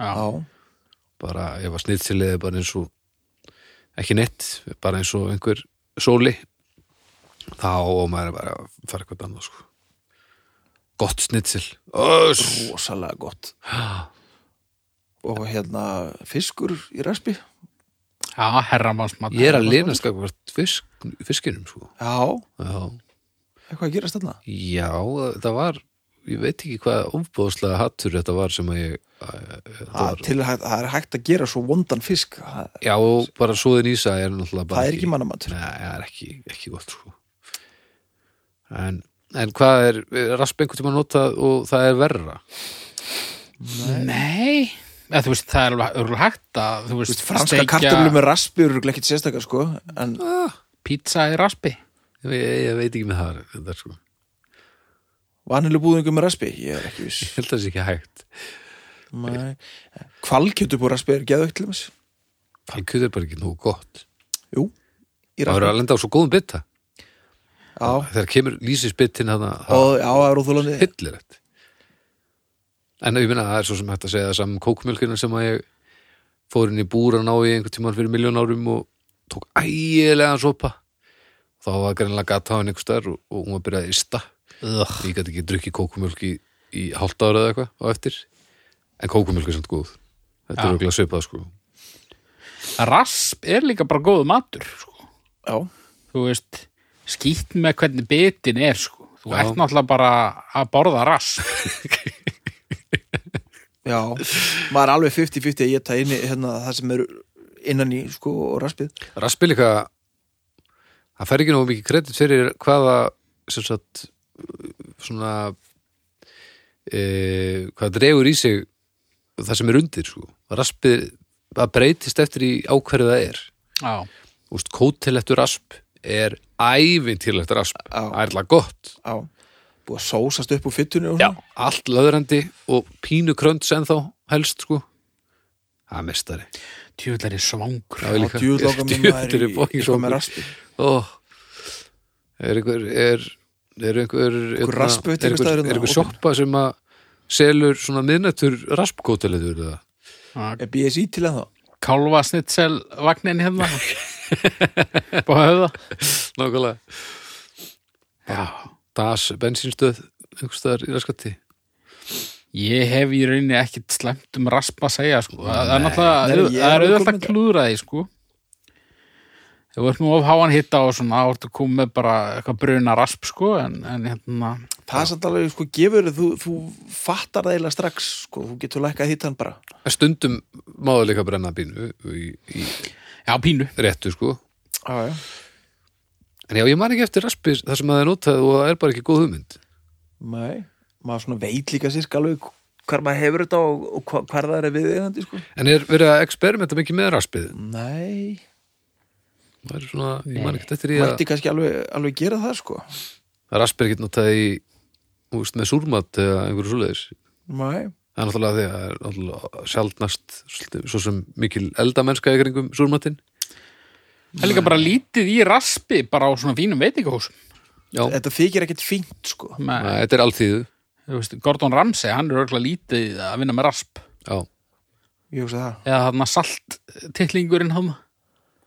Speaker 2: Já.
Speaker 1: já,
Speaker 3: bara ef að snittsileg er bara eins og ekki neitt, bara eins og einhver sóli þá og maður er bara að fara eitthvað annað sko. gott snitsil Öss!
Speaker 1: rosalega gott Og hérna fiskur í raspi
Speaker 2: Já, herramannsmat.
Speaker 3: ég er að linast skakvart fisk, fiskinum sko.
Speaker 1: Já,
Speaker 3: já.
Speaker 1: eitthvað að gerast þarna
Speaker 3: já, það var ég veit ekki hvað ofbóðslega hattur þetta var sem að ég að,
Speaker 1: Það er til- það er hægt að gera svo vondan fisk Það,
Speaker 3: já, og bara svoðin ísa er náttúrulega bara
Speaker 1: það er ekki mannamatur
Speaker 3: Nei, það er ekki, ekki gott sko. en, en hvað er rasp einhvern tímann notað og það er verra
Speaker 2: Nei. Ja, þú veist, það er alveg- alveg hægt að, þú veist,
Speaker 1: Vist, Franska kartöflu með raspi eru örugglega ekkert sérstakar sko En
Speaker 2: pizza í raspi.
Speaker 3: ég, ég, ég veit ekki með það, það er, sko.
Speaker 1: vanilu búðingu með raspi Ég er ekki viss
Speaker 3: ég held að það sé ekki hægt
Speaker 1: Nei. Hvalkjöt upp úr raspi er geðveikt til þess
Speaker 3: falkjöð er bara ekki nú gott
Speaker 1: Jú, í
Speaker 3: það verður
Speaker 1: raspi
Speaker 3: að lenda á svo góðum bytta
Speaker 1: Já,
Speaker 3: þegar kemur lýsisbyttin hana
Speaker 1: og já, það er úþólandi
Speaker 3: hillilegt en ég minna það er svo sem hægt að segja það saman kókumjölkina sem að ég fór inn í búr að ná í einhvern tímann fyrir miljón árum og tók ægilega sopa þá var greinlega gata á henni einhvers staðar og, og hún var byrjað að ysta
Speaker 2: Ugh.
Speaker 3: ég gæti ekki drukkið kókumjölk í, í hálft ára eða eitthvað og eftir en kókumjölk er samt góð þetta
Speaker 2: Já.
Speaker 3: er auðvitað svipað sko
Speaker 2: Rasp er líka bara góðu matur, sko.
Speaker 1: Já,
Speaker 2: þú veist, skýtt með hvernig bitin er, sko. Þú
Speaker 3: Já.
Speaker 2: ert náttúrulega bara að borða rass.
Speaker 1: já, maður er alveg 50-50 að geta inn í hérna, það sem eru innan í sko og raspið
Speaker 3: Raspil eitthvað það fær ekki nógu mikið kredit fyrir hvaða sem sagt svona e, hvað dregur í sig það sem er undir sko. raspið, það breytist eftir í ákverðu það er
Speaker 2: Já,
Speaker 3: Úst, kóteleftur rasp er ævintýrlegt rasp,
Speaker 1: Já.
Speaker 3: ærla gott
Speaker 1: á, búið að sósast upp úr fyttunni og
Speaker 3: Já.
Speaker 1: svona.
Speaker 3: allt löðrandi og pínu krönts en þá helst sko það er mestari
Speaker 2: tjóðlar er svangur
Speaker 3: Já, ég líka.
Speaker 1: djúð langar mér maður
Speaker 3: Djöfull er
Speaker 1: í
Speaker 3: ég fucking
Speaker 1: eitthvað
Speaker 3: svangur.
Speaker 1: með raspi
Speaker 3: Ó, er einhver er, er einhver, einhver
Speaker 1: raspi veit
Speaker 3: er
Speaker 1: einhver
Speaker 3: einhver, er
Speaker 1: staður hérna,
Speaker 3: einhver
Speaker 1: opinn?
Speaker 3: sjoppa sem að selur svona miðnættur raspkóteleður eða
Speaker 1: er BSI til en þá
Speaker 2: Kálva snitsel vagnin hérna Bá höfða
Speaker 3: nákvæmlega
Speaker 2: Já,
Speaker 3: das bensínstöð einhver staðar í raskatti
Speaker 2: ég hef í rauninni ekkit slæmt um rasp að segja sko. það er náttúrulega,
Speaker 1: Nei, ég er
Speaker 2: það er auðvitað
Speaker 1: komin-
Speaker 2: að klúðra því sko Ef þú ert nú of háan hitta og svona, þá ertu að koma með bara eitthvað bruna rasp sko, en, en hérna,
Speaker 1: það er samt alveg sko gefur þú, þú fattar það eiginlega strax sko, þú getur lækkað hittan bara
Speaker 3: stundum máðu líka brenna bínu í, í
Speaker 2: já, pínu.
Speaker 3: réttu sko
Speaker 1: já, já.
Speaker 3: en já, ég man ekki eftir raspi þar sem það er notað og það er bara ekki góð hugmynd
Speaker 1: Nei, maður svona veit líka sirk alveg hvar maður hefur þetta og, og hva- hvar það er við eigandi sko
Speaker 3: en er verið að experimenta mikið með raspið
Speaker 1: Nei,
Speaker 3: það er svona, ég man ekki eftir í að
Speaker 1: mætti kannski alveg, alveg gera það sko
Speaker 3: raspi er ekki notað í úst, með súrmat eða einhverju svoleiðis
Speaker 1: Nei,
Speaker 3: Það er náttúrulega því að það er náttúrulega sjaldnast svolítið- svo sem mikil eldamennska í kringum súrmatinn.
Speaker 2: Það er líka bara lítið í raspi, bara á svona fínum veitingahúsum.
Speaker 3: Já,
Speaker 1: þetta þykir ekkert fínt sko
Speaker 2: Með,
Speaker 3: Æ, þetta er alltíðu.
Speaker 2: þú veist, Gordon Ramsay, hann er örgulega lítið að vinna með rasp
Speaker 3: Já,
Speaker 1: Ég hugsa það
Speaker 2: eða hann salt tillingurinn hann,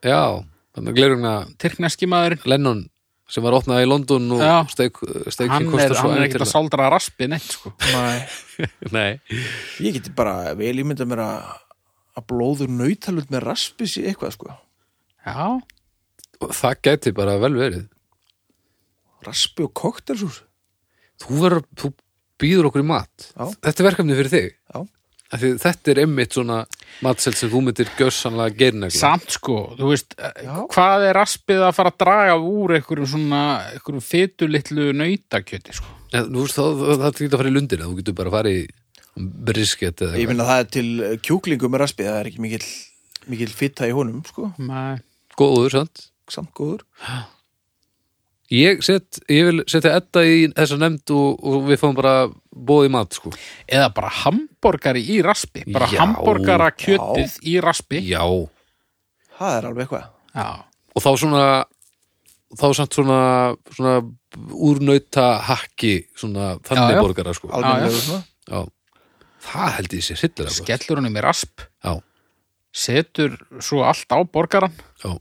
Speaker 3: já, þannig að glerugna
Speaker 2: tyrkneski maðurinn
Speaker 3: Lennon sem var opnað í London
Speaker 2: Já.
Speaker 3: og steik, steikin
Speaker 2: hann er,
Speaker 3: kostar svo
Speaker 2: hann er ekkert að
Speaker 3: ævintýralega.
Speaker 2: saldra raspi neitt sko.
Speaker 1: Nei.
Speaker 3: Nei,
Speaker 1: Ég geti bara vel ímynda mér að að blóður nautalund með raspi sér eitthvað sko
Speaker 2: já,
Speaker 3: Og það gæti bara vel verið.
Speaker 1: Raspi og koktelsús
Speaker 3: Þú, var, þú býður okkur í mat.
Speaker 1: Já.
Speaker 3: Þetta er verkefni fyrir þig.
Speaker 1: Já,
Speaker 3: Af því Þetta er einmitt svona matsel sem þú myndir gjössanlega gerinægla.
Speaker 2: samt sko þú veist, eh,
Speaker 1: Já.
Speaker 2: hvað er raspið að fara að draga úr einhverjum svona einhverjum fetulitlu nautakjöti sko.
Speaker 3: Þú veist, það, það, það getur að fara í lundina. Þú getur bara að fara í brisket eða
Speaker 1: ég minna það er til eh, kjúklingu með raspi það er ekki mikill, mikill fitta í honum sko
Speaker 2: Nei.
Speaker 3: góður, sant?
Speaker 1: samt góður
Speaker 3: Ég, set, ég vil setja Edda í þessa nefnd og, og við fáum bara bóð í mat, sko.
Speaker 2: eða bara hamborgari í raspi bara
Speaker 3: Já,
Speaker 2: hamborgara kjötið í raspi
Speaker 3: Já. Og
Speaker 1: Það er alveg eitthvað
Speaker 2: já,
Speaker 3: þá svona, þá samt svona, svona úrnauta hakki, svona
Speaker 2: Já,
Speaker 3: þannig
Speaker 2: já.
Speaker 3: borgara, sko.
Speaker 1: Almennilegur svona
Speaker 3: Já. Það held ég sér hillir af.
Speaker 2: skellur honum í rasp
Speaker 3: Já,
Speaker 2: setur svo allt á borgaran
Speaker 3: já.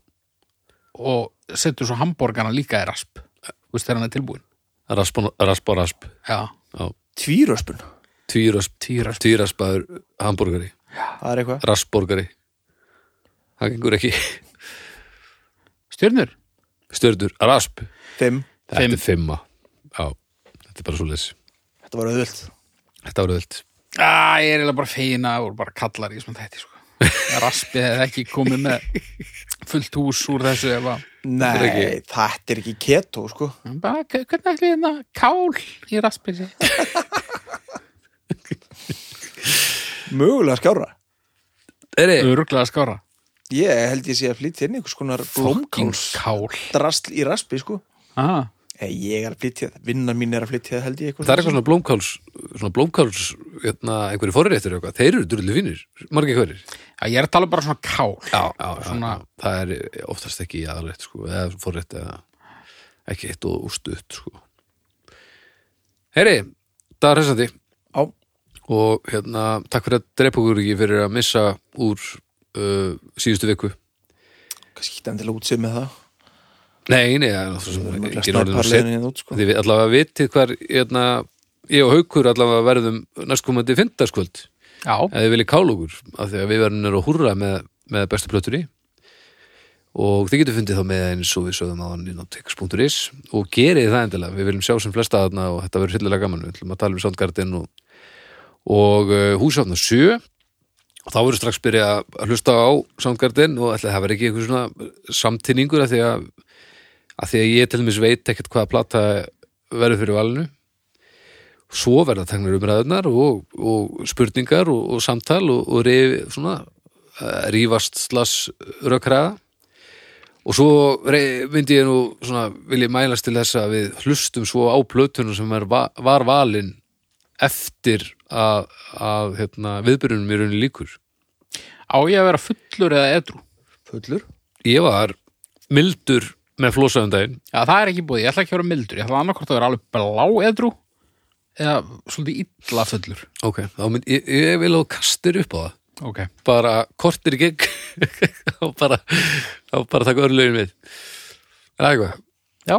Speaker 2: og setur svo hamborgarna líka í rasp þú veist þegar hann er tilbúin
Speaker 3: Rasp, og- rasp og rasp.
Speaker 2: já,
Speaker 3: Já.
Speaker 1: Tvíröspun,
Speaker 3: Tvírasp,
Speaker 2: Tvírasp.
Speaker 3: tvíraspaður hambúrgari.
Speaker 1: það er eitthvað
Speaker 3: Raspborgari. Það gengur ekki.
Speaker 2: stjörnur
Speaker 3: Stjörnur, rasp.
Speaker 1: Fimm,
Speaker 3: Þetta
Speaker 2: Fimm.
Speaker 3: er fimma. Já, þetta er bara svo leys.
Speaker 1: þetta var auðvöld
Speaker 3: Þetta var öðvöld.
Speaker 2: Æ, ég er eiginlega bara fegin að voru bara kallar í svona þetta sko. raspið hefði ekki komið með fullt hús úr þessu ef að
Speaker 1: Nei,
Speaker 3: er ekki-
Speaker 1: þetta er ekki keto, sko
Speaker 2: bara, "Hva- hvernig ætli hérna kál í raspið sé?"
Speaker 1: Mögulega skjára
Speaker 3: Eri,
Speaker 2: öruglega skára
Speaker 1: Ég held ég sé að flytja inn einhvers konar
Speaker 2: fucking
Speaker 1: blómkáls
Speaker 2: kál
Speaker 1: drasl í raspi, sko
Speaker 2: ah,
Speaker 1: Nei, Ég er að flytja það, vinnan mín er að flytja það held ég
Speaker 3: það er eitthvað svona blómkáls svona blómkáls, hérna, einhverju forréttur eitthvað, þeir eru drullu fínir, margir hverjir
Speaker 2: Já, ég er að tala um bara svona kál
Speaker 3: já, já,
Speaker 2: svona-
Speaker 3: já, það er oftast ekki í aðalrétt sko, eða forrétt eða ekki eitt og úrstutt sko. Heyri, það er hressandi
Speaker 1: Já,
Speaker 3: og hérna, takk fyrir að dreipa okkur ekki fyrir að missa úr uh, síðustu viku
Speaker 1: kannski ekki endilega útsið með það
Speaker 3: Nei, nei, það er náttúrulega
Speaker 1: Mögulega
Speaker 3: ekki orðin að setja
Speaker 1: snarparleginni út, sko
Speaker 3: Þið við allavega vitið hvar hérna, ég og Haukur allavega verðum næstkomandi fimmtarskvöld
Speaker 2: já,
Speaker 3: ef þið viljið kála okkur af því að við verðum nýra að húrra með, með bestu plötur í og þið getur fundið þá með eins og við sögðum á hann inn á tix.is og gerið það endilega, við viljum sjá sem flesta þarna og þetta verður hillilega gaman, við ætlum að tala um Soundgarden og, og uh, húsafna 7 og þá verður strax byrja að hlusta á Soundgarden og ætli það verður ekki einhver svona samtinningur af því að, að því að ég til dæmis veit ekkert hvaða plata verður fyrir valinu svo verða tegnar umræðunar og, og spurningar og, og samtal og, og reyf, svona, eh, rífast slass rökkraða og svo rey, myndi ég nú svona, vil ég mælast til þess að við hlustum svo á plötunum sem er, va- var valin eftir að, að hérna, viðbyrjunum í rauninni líkur
Speaker 2: Á ég að vera fullur eða edru?
Speaker 1: Fullur?
Speaker 3: ég var mildur með flósaðundaginn
Speaker 2: Já, það er ekki búið, ég ætla ekki að vera mildur Ég ætla annarkvort að vera alveg blá edru eða svolítið illa fullur
Speaker 3: ok, þá mynd, ég, ég vil á kastir upp á það
Speaker 2: Ok,
Speaker 3: bara kortir í gegn og bara, og bara taka örlögin við Það er eitthvað
Speaker 2: já,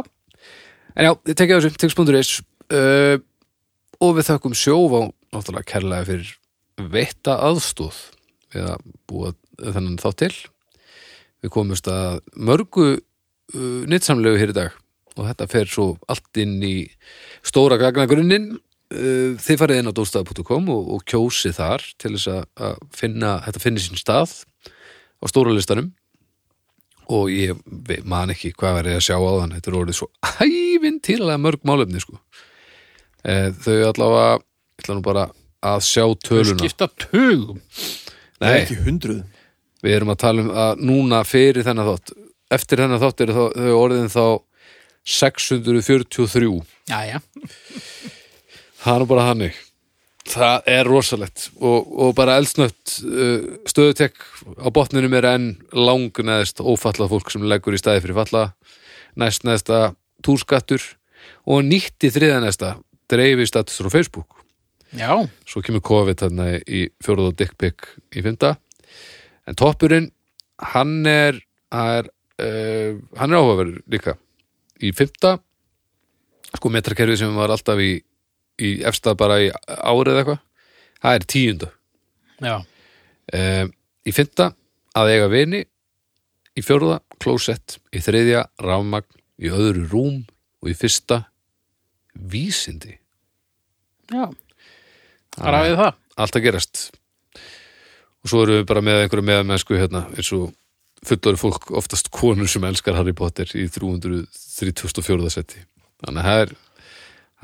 Speaker 3: En já, ég tekja þessu, tix.is uh, og við þökkum sjóf á náttúrulega kærlega fyrir veitta aðstóð við að búa þennan þá til Við komumst að mörgu uh, nýttsamlegu hér í dag og þetta fer svo allt inn í stóra gagnagrunnin uh, þið farið inn á dóstað.com og, og kjósið þar til þess að, að finna, þetta finnir sinn stað á stóra listanum og ég ve- man ekki hvað var ég að sjá á þann þetta er orðið svo ævintýralega mörg málefni sko. e, þau allavega ég ætla nú bara að sjá
Speaker 2: þau
Speaker 3: töluna
Speaker 2: skipta tugum
Speaker 1: Nei.
Speaker 3: Nei,
Speaker 1: Ekki hundruð.
Speaker 3: við erum að tala um að núna fyrir þennan þátt eftir þennan þátt eru þá- þau orðin þá 643
Speaker 2: Já, já,
Speaker 3: það er nú bara hannig það er rosalegt og, og bara elsnött uh, stöðutek á botninum er enn langneðst ófallað fólk sem leggur í staði fyrir falla næst neðsta túrskattur og nýtt í þriða neðsta dreifir status frá Facebook
Speaker 2: já
Speaker 3: svo kemur COVID þarna í fjóruð og dickpick í fymta en toppurinn hann er, hann er, uh, hann er áhugaverður líka í fymta sko metrakerfið sem var alltaf í, í efsta bara í árið eitthvað það er tíunda
Speaker 2: Já,
Speaker 3: um, í fymta að eiga vini í fjóruða klósett, í þriðja rafmagn, í öðru rúm og í fyrsta vísindi
Speaker 2: já Það rafið það
Speaker 3: allt að gerast og svo erum við bara með einhverju meðmennsku hérna eins og fullori fólk oftast konur sem elskar Harry Potter í 334. seti þannig að það er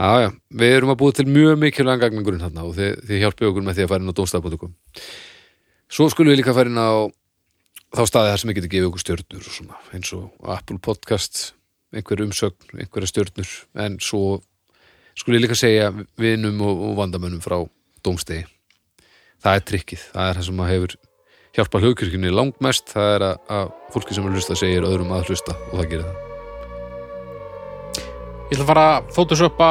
Speaker 3: Já, já, við erum að búið til mjög mikilvægan gagningurinn hérna og þið, þið hjálpið okkur með því að fara inn á dómstæðbótukum. Svo skulum við líka fara inn á þá staði þar sem við getum gefið okkur stjörnur og svona, eins og Apple Podcast, einhver umsögn, einhverja stjörnur, en svo skulum við líka segja vinum og, og vandamönnum frá dómstegi það er trikkið, það er það sem að hefur hjálpa hlugkirkjunni langmest það er að, að fólki sem er að hlusta segir öðrum að hlusta og það gerir það
Speaker 2: Ég ætla að fara að photoshopa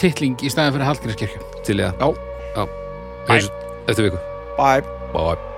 Speaker 2: titling í stæðan fyrir Hallgrímskirkju
Speaker 3: til ég
Speaker 2: Já.
Speaker 3: að, já,
Speaker 2: Bye.
Speaker 3: Heyrðu- eftir viku
Speaker 1: Bye.
Speaker 3: Bye.